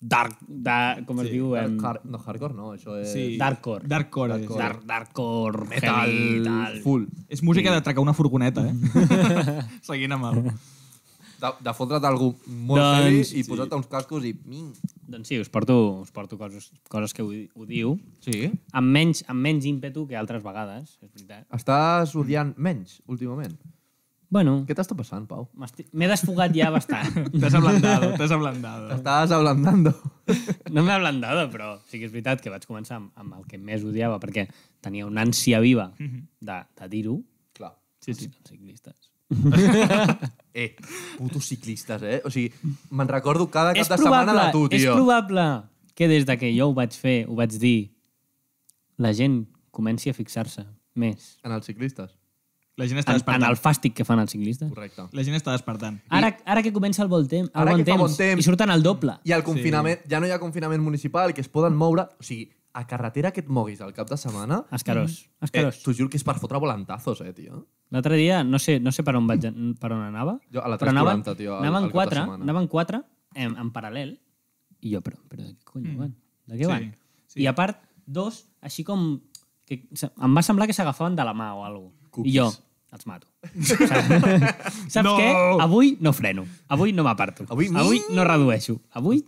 Speaker 4: dark, da, com es diu? Em, eh,
Speaker 3: Har- no, hardcore no, això és...
Speaker 5: Sí.
Speaker 4: Darkcore.
Speaker 5: Darkcore. Darkcore.
Speaker 4: dark, darkcore,
Speaker 3: Metal,
Speaker 4: heavy, tal.
Speaker 3: full.
Speaker 5: És música sí. d'atracar una furgoneta, eh? Seguint amb el...
Speaker 3: De, de fotre't algú molt
Speaker 4: Doncs-
Speaker 3: heavy i posar-te uns cascos i... Ming.
Speaker 4: Doncs sí, us porto, us porto coses, coses que ho, di- ho diu,
Speaker 3: Sí.
Speaker 4: amb menys, amb menys ímpetu que altres vegades, és veritat.
Speaker 3: Estàs odiant menys, últimament.
Speaker 4: Bueno,
Speaker 3: Què t'està passant, Pau?
Speaker 4: m'esti- m'he desfogat ja bastant.
Speaker 5: T'has ablandado, t'has ablandado.
Speaker 3: Estàs ablandando.
Speaker 4: No m'he ablandado, però sí que és veritat que vaig començar amb, amb el que més odiava, perquè tenia una ànsia viva de, de dir-ho.
Speaker 3: Clar.
Speaker 4: Mhm. Sí, sí. Els ciclistes.
Speaker 3: Eh, putos ciclistes, eh? O sigui, me'n recordo cada cap
Speaker 4: És
Speaker 3: de setmana de
Speaker 4: probable,
Speaker 3: tu,
Speaker 4: és
Speaker 3: tio.
Speaker 4: probable que des de que jo ho vaig fer, ho vaig dir, la gent comenci a fixar-se més
Speaker 3: En els ciclistes.
Speaker 5: La gent està
Speaker 4: en, en el
Speaker 5: despertant.
Speaker 4: fàstic que fan els ciclistes.
Speaker 3: Correcte.
Speaker 5: La gent està despertant.
Speaker 4: Ara, ara que comença el bon temps, el
Speaker 3: Ara
Speaker 4: bon
Speaker 3: que fa
Speaker 4: temps,
Speaker 3: bon temps.
Speaker 4: i surten al doble.
Speaker 3: I el confinament... Ja no hi ha confinament municipal, que es poden moure... O sigui, a carretera que et moguis al cap de setmana...
Speaker 4: Escarós,
Speaker 3: Eh,
Speaker 4: escarós.
Speaker 3: T'ho juro que és per fotre volantazos, eh, tio.
Speaker 4: L'altre dia, no sé, no sé per on, vaig, per on anava,
Speaker 3: Jo a la
Speaker 4: però anaven,
Speaker 3: 340, tio, al-
Speaker 4: anaven,
Speaker 3: al cap de
Speaker 4: quatre,
Speaker 3: setmana.
Speaker 4: anaven quatre en, en paral·lel, i jo, però, però de què cony van? De què
Speaker 5: Mm. Sí,
Speaker 4: van?
Speaker 5: sí.
Speaker 4: I a part, dos, així com... Que, se- em va semblar que s'agafaven de la mà o alguna cosa. I jo, els mato. Saps, saps
Speaker 5: No!
Speaker 4: què? Avui no freno. Avui no m'aparto.
Speaker 3: Avui-
Speaker 4: Avui no redueixo. Avui,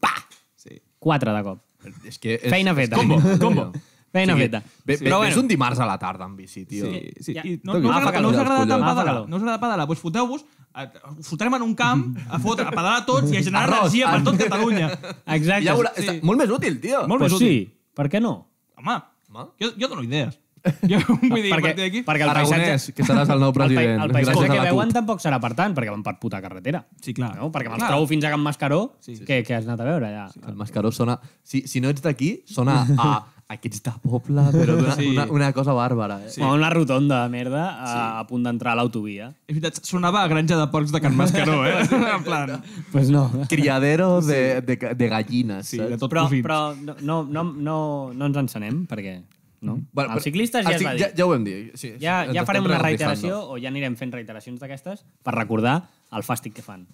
Speaker 4: pa!
Speaker 5: Sí.
Speaker 4: Quatre de cop.
Speaker 3: És que és,
Speaker 4: Feina feta.
Speaker 3: És combo, combo.
Speaker 4: Feina
Speaker 3: Sí,
Speaker 4: feta.
Speaker 3: Ve,
Speaker 4: Sí.
Speaker 3: ve,
Speaker 4: Però
Speaker 3: ves
Speaker 4: bueno.
Speaker 3: un dimarts a la tarda amb bici, tio.
Speaker 5: Sí, sí.
Speaker 4: Ja.
Speaker 5: I no,
Speaker 3: Tu,
Speaker 5: no, us
Speaker 3: agafa
Speaker 5: agrada, no us
Speaker 3: calor,
Speaker 5: agrada tant
Speaker 3: collons.
Speaker 5: pedalar.
Speaker 4: Agafa
Speaker 5: No us agrada pedalar. Doncs foteu-vos, a- us fotrem en un camp, a fotre, a pedalar tots i a generar
Speaker 3: Arròs,
Speaker 5: energia per
Speaker 3: arròs.
Speaker 5: tot Catalunya.
Speaker 4: Exacte.
Speaker 3: I ja veurà,
Speaker 5: Sí.
Speaker 3: està molt més útil, tio.
Speaker 5: Molt
Speaker 4: pues
Speaker 5: més útil.
Speaker 4: sí, per què no?
Speaker 5: Home,
Speaker 3: Home.
Speaker 5: jo, jo dono idees. Jo vull dir, a partir d'aquí...
Speaker 4: perquè el
Speaker 3: Aragonès,
Speaker 4: paisatge...
Speaker 3: que seràs el nou
Speaker 4: El,
Speaker 3: president.
Speaker 4: pa, el paisatge
Speaker 3: gràcies a
Speaker 4: que
Speaker 3: la CUP.
Speaker 4: veuen tampoc serà per tant, perquè van per puta carretera.
Speaker 5: Sí, clar.
Speaker 4: No? Perquè me'ls
Speaker 5: Clar.
Speaker 4: trobo fins a Can Mascaró,
Speaker 5: Sí, sí.
Speaker 4: que, que has anat a veure allà. Sí,
Speaker 3: El Mascaró sona... Si, si no ets d'aquí, sona a aquests de poble, però d'una
Speaker 5: Sí.
Speaker 3: sí. una, una cosa bàrbara. Eh? Sí.
Speaker 5: Sí.
Speaker 4: Una rotonda de merda a, a punt d'entrar a l'autovia.
Speaker 5: És veritat, sonava a granja de porcs de Can Mascaró, eh? en plan...
Speaker 4: Doncs pues no.
Speaker 3: Criadero de, de, de gallines,
Speaker 5: Sí,
Speaker 3: sí, saps?
Speaker 5: de tot
Speaker 4: Però,
Speaker 5: cosins.
Speaker 4: però no, no, no, no, no ens encenem, perquè... No?
Speaker 3: Mm-hmm.
Speaker 4: Bueno, els ciclistes ja
Speaker 3: el
Speaker 4: es va
Speaker 3: cic-
Speaker 4: dir.
Speaker 3: Ja, ja ho vam dir. Sí,
Speaker 4: Ja,
Speaker 3: ens
Speaker 4: ja
Speaker 3: estem
Speaker 4: farem una
Speaker 3: reafirmant.
Speaker 4: reiteració o ja anirem fent reiteracions d'aquestes per recordar el fàstic que fan.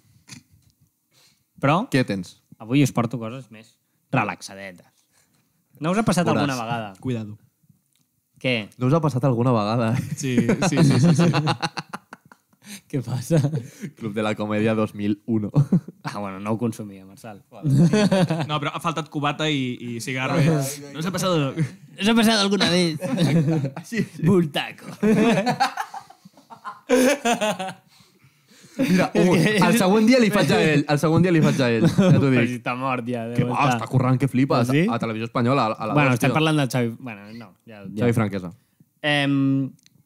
Speaker 4: Però
Speaker 3: Què tens?
Speaker 4: avui us porto coses més relaxadetes. No us ha passat
Speaker 3: Veuràs.
Speaker 4: alguna vegada
Speaker 5: Cuidado.
Speaker 4: que...
Speaker 3: No us ha passat alguna vegada? eh?
Speaker 5: Sí, sí, sí. sí, sí.
Speaker 4: Què passa?
Speaker 3: Club de la Comèdia 2001.
Speaker 4: Ah, bueno, no ho consumia, Marçal.
Speaker 5: No, però ha faltat cubata i, i cigarro. Eh? No s'ha passat...
Speaker 4: Us ha passat alguna vez? sí, sí. Bultaco.
Speaker 3: Mira, ui, el següent dia li faig a ell. El següent dia li faig a ell. Ja t'ho dic.
Speaker 4: Està mort ja.
Speaker 3: Que va, està corrent, que flipes.
Speaker 4: Ah, sí?
Speaker 3: A Televisió Espanyola, a la
Speaker 4: Bueno,
Speaker 3: dos,
Speaker 4: estem
Speaker 3: tio.
Speaker 4: parlant del Xavi... Bueno, no, ja... ja.
Speaker 3: Xavi Franquesa.
Speaker 4: Em,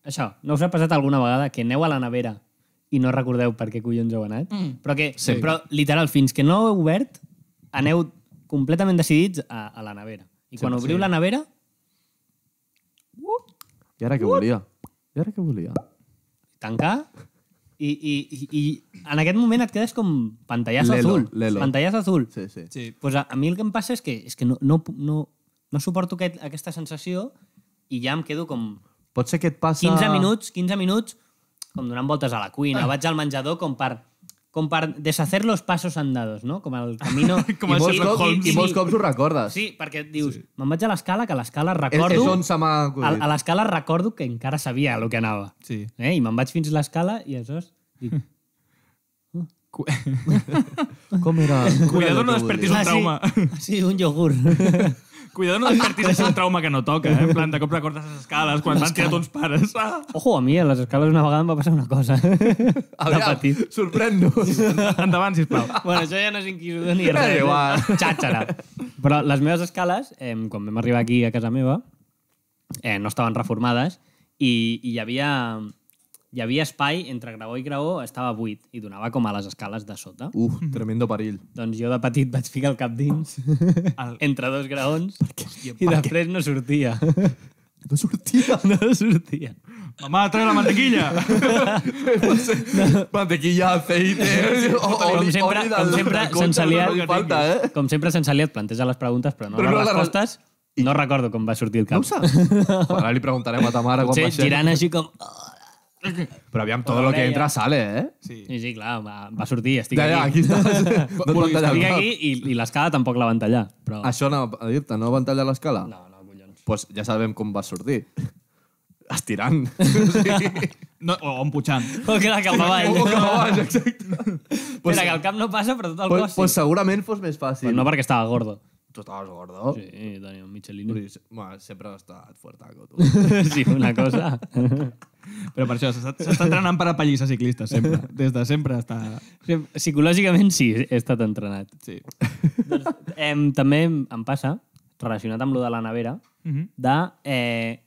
Speaker 4: això, no us ha passat alguna vegada que aneu a la nevera i no recordeu per què collons heu anat? Mm. Però que, sí. però literal, fins que no heu obert, aneu completament decidits a, a la nevera. I quan obriu la nevera,
Speaker 3: I ara què volia? I ara què volia?
Speaker 4: tancar i, i, i, i en aquest moment et quedes com pantallàs
Speaker 3: Lelo,
Speaker 4: azul.
Speaker 3: lelo.
Speaker 4: Pantallàs azul.
Speaker 3: Sí, sí.
Speaker 5: Sí.
Speaker 4: Pues a, a mi el que em passa és que, és que no, no, pu- no, no suporto aquest, aquesta sensació i ja em quedo com
Speaker 3: Pot ser que et passa...
Speaker 4: 15 minuts, 15 minuts, com donant voltes a la cuina, vaig al menjador com per, com per deshacer los pasos andados, no? Com el camino...
Speaker 5: Com
Speaker 3: I
Speaker 5: el
Speaker 3: molts,
Speaker 5: Sherlock
Speaker 3: cops,
Speaker 5: Holmes.
Speaker 3: i, molts cops ho recordes.
Speaker 4: Sí, perquè dius, sí. me'n vaig a l'escala, que a l'escala
Speaker 3: és,
Speaker 4: recordo...
Speaker 3: és on se m'ha
Speaker 4: a,
Speaker 3: acudit.
Speaker 4: a l'escala recordo que encara sabia el que anava.
Speaker 5: Sí.
Speaker 4: Eh? I me'n vaig fins a l'escala i aleshores dic,
Speaker 5: Cu-
Speaker 3: Com era?
Speaker 5: Cuidado no despertis un
Speaker 4: Ah, sí.
Speaker 5: trauma.
Speaker 4: ah, sí, un iogurt.
Speaker 5: Cuidado no despertis així un trauma que no toca, eh? En plan, de cop recordes les escales quan t'han tirat uns pares. Ah,
Speaker 4: Ojo, a mi a les escales una vegada em va passar una cosa. De petit.
Speaker 3: Aviam, sorprèn-nos.
Speaker 5: endavant, sisplau.
Speaker 4: Bueno, això ja no és inquisidor ni res.
Speaker 3: És igual.
Speaker 4: Xàxara. Però les meves escales, eh, quan vam arribar aquí a casa meva, eh, no estaven reformades i, i hi, havia, hi havia espai entre graó i graó, estava buit i donava com a les escales de sota.
Speaker 3: Uf, tremendo perill.
Speaker 4: Doncs jo de petit vaig ficar el cap dins,
Speaker 5: El-
Speaker 4: entre dos graons, i després no sortia.
Speaker 3: No sortia.
Speaker 4: No sortia.
Speaker 5: Mamà, treu la mantequilla.
Speaker 3: Mantequilla, aceite... O,
Speaker 4: com
Speaker 3: oli-
Speaker 4: sempre,
Speaker 3: oli del-
Speaker 4: com sempre
Speaker 3: del
Speaker 4: sense
Speaker 3: cotxe,
Speaker 4: liat,
Speaker 3: no li falta, eh?
Speaker 4: com sempre sense liat planteja les preguntes, però no
Speaker 3: Però no
Speaker 4: les
Speaker 3: la-
Speaker 4: respostes. No recordo com va sortir el cap.
Speaker 3: No ho saps? Ara li preguntarem a ta mare quan
Speaker 4: Potser
Speaker 3: va ser.
Speaker 4: girant així com...
Speaker 3: Però aviam, tot lo que entra sale, eh?
Speaker 5: Sí.
Speaker 4: Sí, sí, clar, va, va sortir, estic
Speaker 3: Ja, ja, aquí
Speaker 4: aquí.
Speaker 3: estàs. No Ah, et van tallar el
Speaker 4: Estic
Speaker 3: cap.
Speaker 4: aquí i, i l'escala tampoc la van tallar. Però...
Speaker 3: Això anava a dir-te, no van tallar l'escala?
Speaker 4: No, no, collons.
Speaker 3: Doncs pues ja sabem com va sortir. Estirant. Sí.
Speaker 5: No, o en Puigdemont.
Speaker 4: O que la cap avall.
Speaker 3: O que abans, exacte.
Speaker 4: Pues, Espera, que el cap no passa, però tot el
Speaker 3: Pues,
Speaker 4: cos
Speaker 3: pues
Speaker 4: sí.
Speaker 3: segurament fos més fàcil.
Speaker 4: Però Pues no perquè estava gordo.
Speaker 3: Tu estaves gordo.
Speaker 4: Sí, Dani, un Michelino.
Speaker 3: Bueno, sempre has estat fuertaco, tu.
Speaker 4: sí, una cosa.
Speaker 5: Però per això s'està s'està entrenant per a pallissa ciclista, sempre. Des de sempre està...
Speaker 4: Psicològicament sí, he estat entrenat.
Speaker 5: Sí.
Speaker 4: Em, també em passa, relacionat amb lo de la nevera,
Speaker 5: Mhm.
Speaker 4: de... Eh,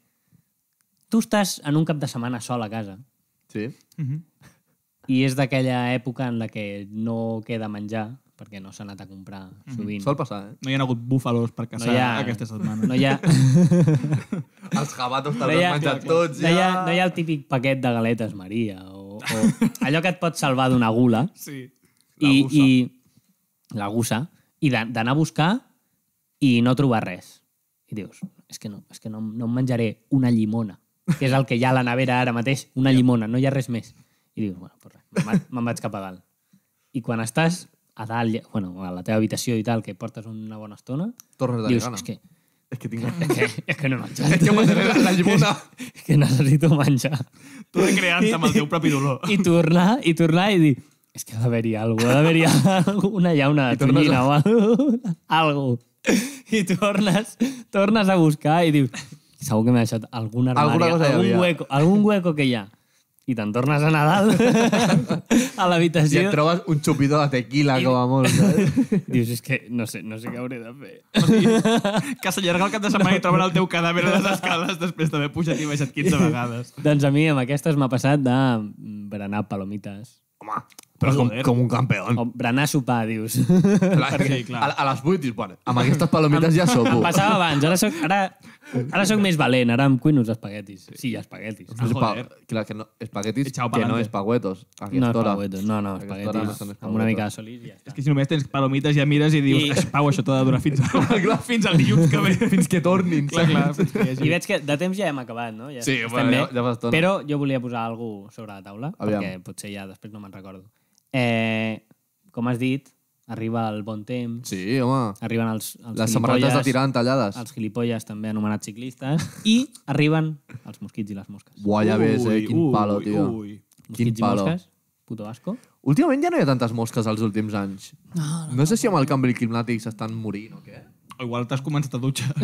Speaker 4: tu estàs en un cap de setmana sol a casa
Speaker 3: Sí.
Speaker 4: i és d'aquella època en la que no queda menjar perquè no s'ha anat a comprar sovint.
Speaker 3: Sol passar, eh?
Speaker 5: No hi ha hagut búfalos per caçar
Speaker 4: hi ha-
Speaker 5: aquesta setmana.
Speaker 4: No hi ha...
Speaker 3: Els jabatos
Speaker 4: no
Speaker 3: te'ls
Speaker 4: hi
Speaker 3: has
Speaker 4: ha,
Speaker 3: menjat tots,
Speaker 4: no, hi ha,
Speaker 3: ja.
Speaker 4: no hi ha el típic paquet de galetes Maria o, o allò que et pot salvar d'una gula
Speaker 5: Sí.
Speaker 3: La
Speaker 4: i,
Speaker 3: gusa.
Speaker 4: i la gusa i d'a- d'anar a buscar i no trobar res. I dius, és que no, és que no, no em menjaré una llimona, que és el que hi ha a la nevera ara mateix, una llimona, no hi ha res més. I dius, bueno, pues res, me'n va- me'n vaig cap a dalt. I quan estàs a dalt, ja- bueno, a la teva habitació i tal, que portes una bona estona,
Speaker 3: Torres de
Speaker 4: dius,
Speaker 3: Gana.
Speaker 4: és que,
Speaker 3: És que tinc...
Speaker 4: és que, és que no he menjat.
Speaker 3: És que passaré la llimona.
Speaker 4: És que necessito menjar.
Speaker 5: Tu recreant amb el teu propi dolor.
Speaker 4: I tornar, i tornar i dir és que ha d'haver-hi alguna cosa, ha d'haver-hi alguna una llauna de
Speaker 3: tornes
Speaker 4: tonyina o alguna algo. I tornes, tornes a buscar i dius segur que m'he deixat algun armari,
Speaker 3: Alguna cosa hi
Speaker 4: algun,
Speaker 3: havia."
Speaker 4: hueco, algun hueco que hi ha. I te'n tornes a Nadal a
Speaker 3: Si et
Speaker 4: l'habitació.
Speaker 3: trobes un xupito de tequila, com a molt, saps?
Speaker 4: Dius, és que no sé, no sé què hauré de fer.
Speaker 5: Que s'allarga el cap de setmana i troben el teu cadàver a les escales després d'haver pujat i baixat 15 vegades.
Speaker 4: doncs a mi amb aquestes m'ha passat de mm, berenar palomites.
Speaker 3: Home, però com, Pues com un campeón.
Speaker 4: O berenar sopar, dius.
Speaker 3: Sí, a, a les 8 dius, bueno, amb aquestes palomites ja sopo.
Speaker 4: Em passava abans, ara soc, ara, ara soc més valent, ara em cuino els espaguetis. Sí, espaguetis.
Speaker 3: No és
Speaker 5: Ah,
Speaker 3: Em pa,
Speaker 5: joder.
Speaker 3: clar, que no, espaguetis
Speaker 5: Echao
Speaker 3: que no
Speaker 5: pa'lante.
Speaker 3: és pagüetos. A
Speaker 4: No,
Speaker 3: aquesta hora.
Speaker 4: espaguetos, no, no,
Speaker 3: A aquesta hora
Speaker 4: espaguetis.
Speaker 3: no són
Speaker 4: amb una
Speaker 3: espaguetos.
Speaker 4: mica de solís i ja està.
Speaker 5: És que si només tens palomites ja mires i dius,
Speaker 4: I-
Speaker 5: I... Pau, això t'ha de durar fins, a... fins al dilluns que ve.
Speaker 3: Fins que tornin.
Speaker 5: Clar, clar, fins que hi
Speaker 4: I
Speaker 5: hagi...
Speaker 4: veig que de temps ja hem acabat, no? Ja
Speaker 3: Sí,
Speaker 4: estem
Speaker 3: bueno,
Speaker 4: bé.
Speaker 3: ja- ja fa estona.
Speaker 4: Però jo volia posar alguna cosa sobre la taula,
Speaker 3: Aviam.
Speaker 4: perquè potser ja després no me'n recordo. Eh, com has dit, arriba el bon temps,
Speaker 3: Sí, home.
Speaker 4: arriben els, els
Speaker 3: Les samarretes de tirant tallades.
Speaker 4: els gilipolles també anomenats ciclistes, i arriben els mosquits i les mosques.
Speaker 3: Buah, ja ves, eh? Quin palo, tio. Quin
Speaker 4: Mosquits i
Speaker 3: palo.
Speaker 4: mosques, puto asco.
Speaker 3: Últimament ja no hi ha tantes mosques als últims anys. No, no, no sé si amb el canvi climàtic s'estan morint o què.
Speaker 5: O igual t'has començat a dutxar.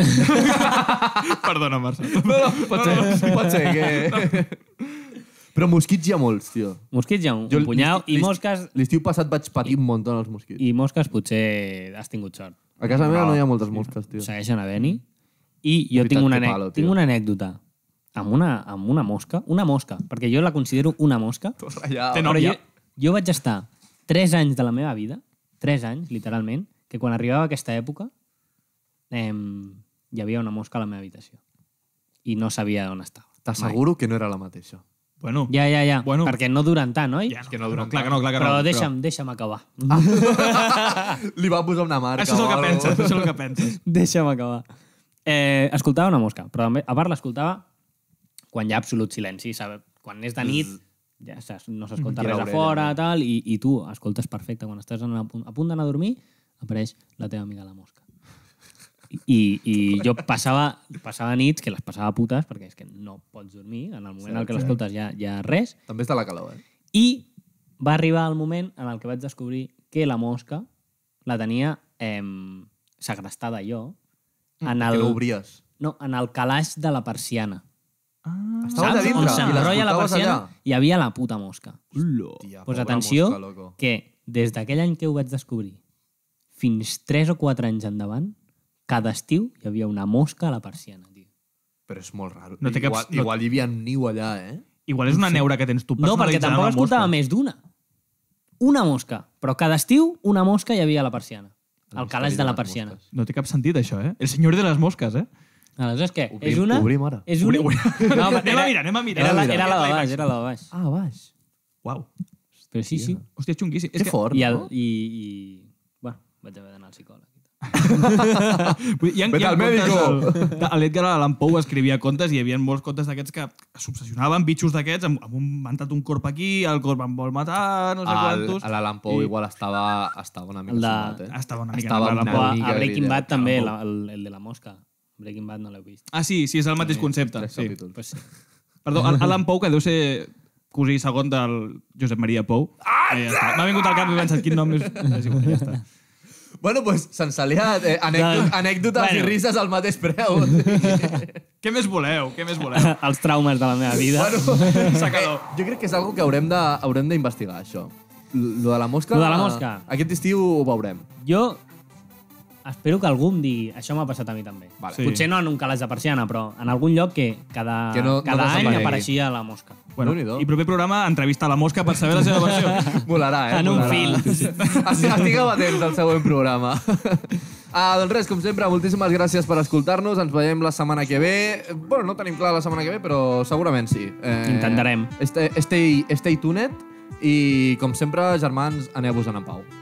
Speaker 5: Perdona, Marcel.
Speaker 3: Pot ser, pot ser que... Però mosquits hi ha molts, tio.
Speaker 4: Mosquits hi ha un,
Speaker 3: Jo
Speaker 4: un punyau,
Speaker 3: l'estiu-
Speaker 4: i mosques,
Speaker 3: L'estiu passat vaig patir un munt els mosquits.
Speaker 4: i mosques potser has tingut sort.
Speaker 3: A casa meva no hi ha moltes mosques, tio.
Speaker 4: segueixen a Beni i jo
Speaker 3: Veritat,
Speaker 4: tinc una,
Speaker 3: que
Speaker 4: ane-
Speaker 3: palo, tio.
Speaker 4: tinc una anècdota amb una, amb una mosca, una mosca, perquè jo la considero una mosca,
Speaker 3: Ja,
Speaker 5: Té
Speaker 4: però jo,
Speaker 5: nòvia.
Speaker 4: jo vaig estar 3 anys de la meva vida, 3 anys, literalment, que quan arribava aquesta època eh, hi havia una mosca a la meva habitació i no sabia on estava.
Speaker 3: T'asseguro que no era la mateixa.
Speaker 5: Bueno,
Speaker 4: Ja, ja, ja,
Speaker 5: Bueno.
Speaker 4: bueno, perquè no duren tant, oi?
Speaker 5: ja no, que no duren. Clar que no, clar que
Speaker 4: però,
Speaker 5: no.
Speaker 4: deixa'm, deixa'm acabar.
Speaker 3: Li va posar una marca.
Speaker 5: Això és el
Speaker 3: o
Speaker 5: que
Speaker 3: algo.
Speaker 5: penses, això és el que penses.
Speaker 4: Deixa'm acabar. Eh, escoltava una mosca, però també, a part l'escoltava quan hi ha absolut silenci, sabe? quan és de nit ja saps, no s'escolta
Speaker 3: I
Speaker 4: res a
Speaker 3: l'orella,
Speaker 4: fora, tal, i, i tu escoltes perfecte. Quan estàs en, a punt- a punt d'anar a dormir, apareix la teva amiga la mosca. I, i jo passava, passava nits que les passava putes perquè és que no pots dormir, en el moment en què l'escoltes ja, ja res,
Speaker 3: També està la calor, eh?
Speaker 4: i va arribar el moment en el que vaig descobrir que la mosca la tenia eh, segrestada jo en
Speaker 3: El... Mm,
Speaker 4: el,
Speaker 3: Que l'obries.
Speaker 4: no, en el calaix de la persiana.
Speaker 3: Estaves a
Speaker 4: On
Speaker 3: dintre i
Speaker 4: s'enrolla la
Speaker 3: l'escoltaves
Speaker 4: persiana
Speaker 3: allà.
Speaker 4: hi havia la puta mosca.
Speaker 5: Ulo.
Speaker 3: Tia,
Speaker 4: Pues
Speaker 3: pobra
Speaker 4: atenció,
Speaker 3: mosca, loco.
Speaker 4: que des d'aquell any que ho vaig descobrir fins 3 o 4 anys endavant, cada estiu hi havia una mosca a la persiana, tio.
Speaker 3: Però és molt raro.
Speaker 5: No té cap-
Speaker 3: igual,
Speaker 5: no-
Speaker 3: igual hi havia un niu allà, eh?
Speaker 5: Igual és una neura que tens tu
Speaker 4: No, perquè
Speaker 5: personalitzada en
Speaker 4: tampoc
Speaker 5: la mosca.
Speaker 4: escoltava més d'una. Una mosca. Però cada estiu una mosca hi havia a la persiana.
Speaker 3: El
Speaker 4: Al calaix
Speaker 3: misteri
Speaker 4: de
Speaker 3: de
Speaker 4: la
Speaker 3: les
Speaker 4: persiana.
Speaker 3: mosques.
Speaker 5: No té cap sentit, això, eh? El senyor de les mosques, eh?
Speaker 4: Aleshores, què?
Speaker 3: Obrim-
Speaker 4: és una...
Speaker 3: obrim ara.
Speaker 4: És una... No,
Speaker 5: Anem a mirar, anem a mirar.
Speaker 4: Era la,
Speaker 5: Anem a
Speaker 4: era la
Speaker 5: mirar.
Speaker 4: de baix, era la de baix.
Speaker 3: Ah, baix.
Speaker 5: Uau.
Speaker 4: Però sí, sí.
Speaker 5: Hòstia, és xunguíssim.
Speaker 3: Que,
Speaker 5: És que,
Speaker 3: fort,
Speaker 4: I, el,
Speaker 3: no?
Speaker 4: i, i... Bueno, vaig haver d'anar al psicòleg.
Speaker 5: Vull dir, hi ha,
Speaker 3: Vete
Speaker 5: hi ha
Speaker 3: al
Speaker 5: contes
Speaker 3: médico.
Speaker 5: del- de- L'Edgar Allan Poe escrivia contes i hi havia molts contes d'aquests que s'obsessionaven, bitxos d'aquests, amb, amb un mantat un corp aquí, el corp em vol matar, no sé
Speaker 3: Al-
Speaker 5: quantos...
Speaker 3: A l'Alan Pou
Speaker 5: I-
Speaker 3: igual estava, estava una mica
Speaker 4: El de-
Speaker 3: sumat, eh?
Speaker 5: Estava una mica
Speaker 3: Estava
Speaker 5: nerviós,
Speaker 3: una,
Speaker 5: l'Alan
Speaker 4: O
Speaker 5: Poe.
Speaker 4: a,
Speaker 3: mica
Speaker 4: a Breaking
Speaker 3: gripat.
Speaker 4: Bad també, la, el, el de la mosca. Breaking Bad no l'heu vist.
Speaker 5: Ah, sí, sí, és el mateix concepte.
Speaker 3: Tres
Speaker 5: Sí.
Speaker 3: capítols.
Speaker 4: Pues sí.
Speaker 5: Perdó, Al- Alan Poe, que deu ser cosí segon del Josep Maria Pou. Ah, ja està. M'ha vingut al cap i he pensat quin nom és... és igual, ja està.
Speaker 3: Bueno, doncs, pues, sense aliat, eh, anècdot,
Speaker 4: No.
Speaker 3: anècdotes
Speaker 4: Bueno.
Speaker 3: i rises al mateix preu.
Speaker 5: Què més voleu? Què més voleu?
Speaker 4: Els traumes de la meva vida.
Speaker 3: bueno,
Speaker 5: Sacador.
Speaker 3: eh, jo crec que és algo que haurem de- haurem d'investigar, això. L- Lo de la mosca...
Speaker 4: Lo de la mosca.
Speaker 3: Aquest estiu ho veurem.
Speaker 4: Eh, Jo espero que algú em digui això m'ha passat a mi també.
Speaker 3: Vale.
Speaker 5: Sí.
Speaker 4: Potser no en un calaix de persiana, però en algun lloc que cada,
Speaker 3: Que no- no
Speaker 4: cada any
Speaker 3: desaparegui.
Speaker 4: apareixia la mosca.
Speaker 5: Bueno,
Speaker 3: Déu-n'hi-do.
Speaker 5: I proper programa, entrevista a la mosca per saber la seva versió.
Speaker 3: Volarà, eh?
Speaker 4: En un
Speaker 3: volarà.
Speaker 4: fil.
Speaker 3: Esti- Estigueu atents al següent programa. Ah, doncs res, com sempre, moltíssimes gràcies per escoltar-nos. Ens veiem la setmana que ve. Bueno, no tenim clar la setmana que ve, però segurament sí. Eh,
Speaker 4: Intentarem.
Speaker 3: Stay, stay, stay tuned i, com sempre, germans, aneu-vos en pau.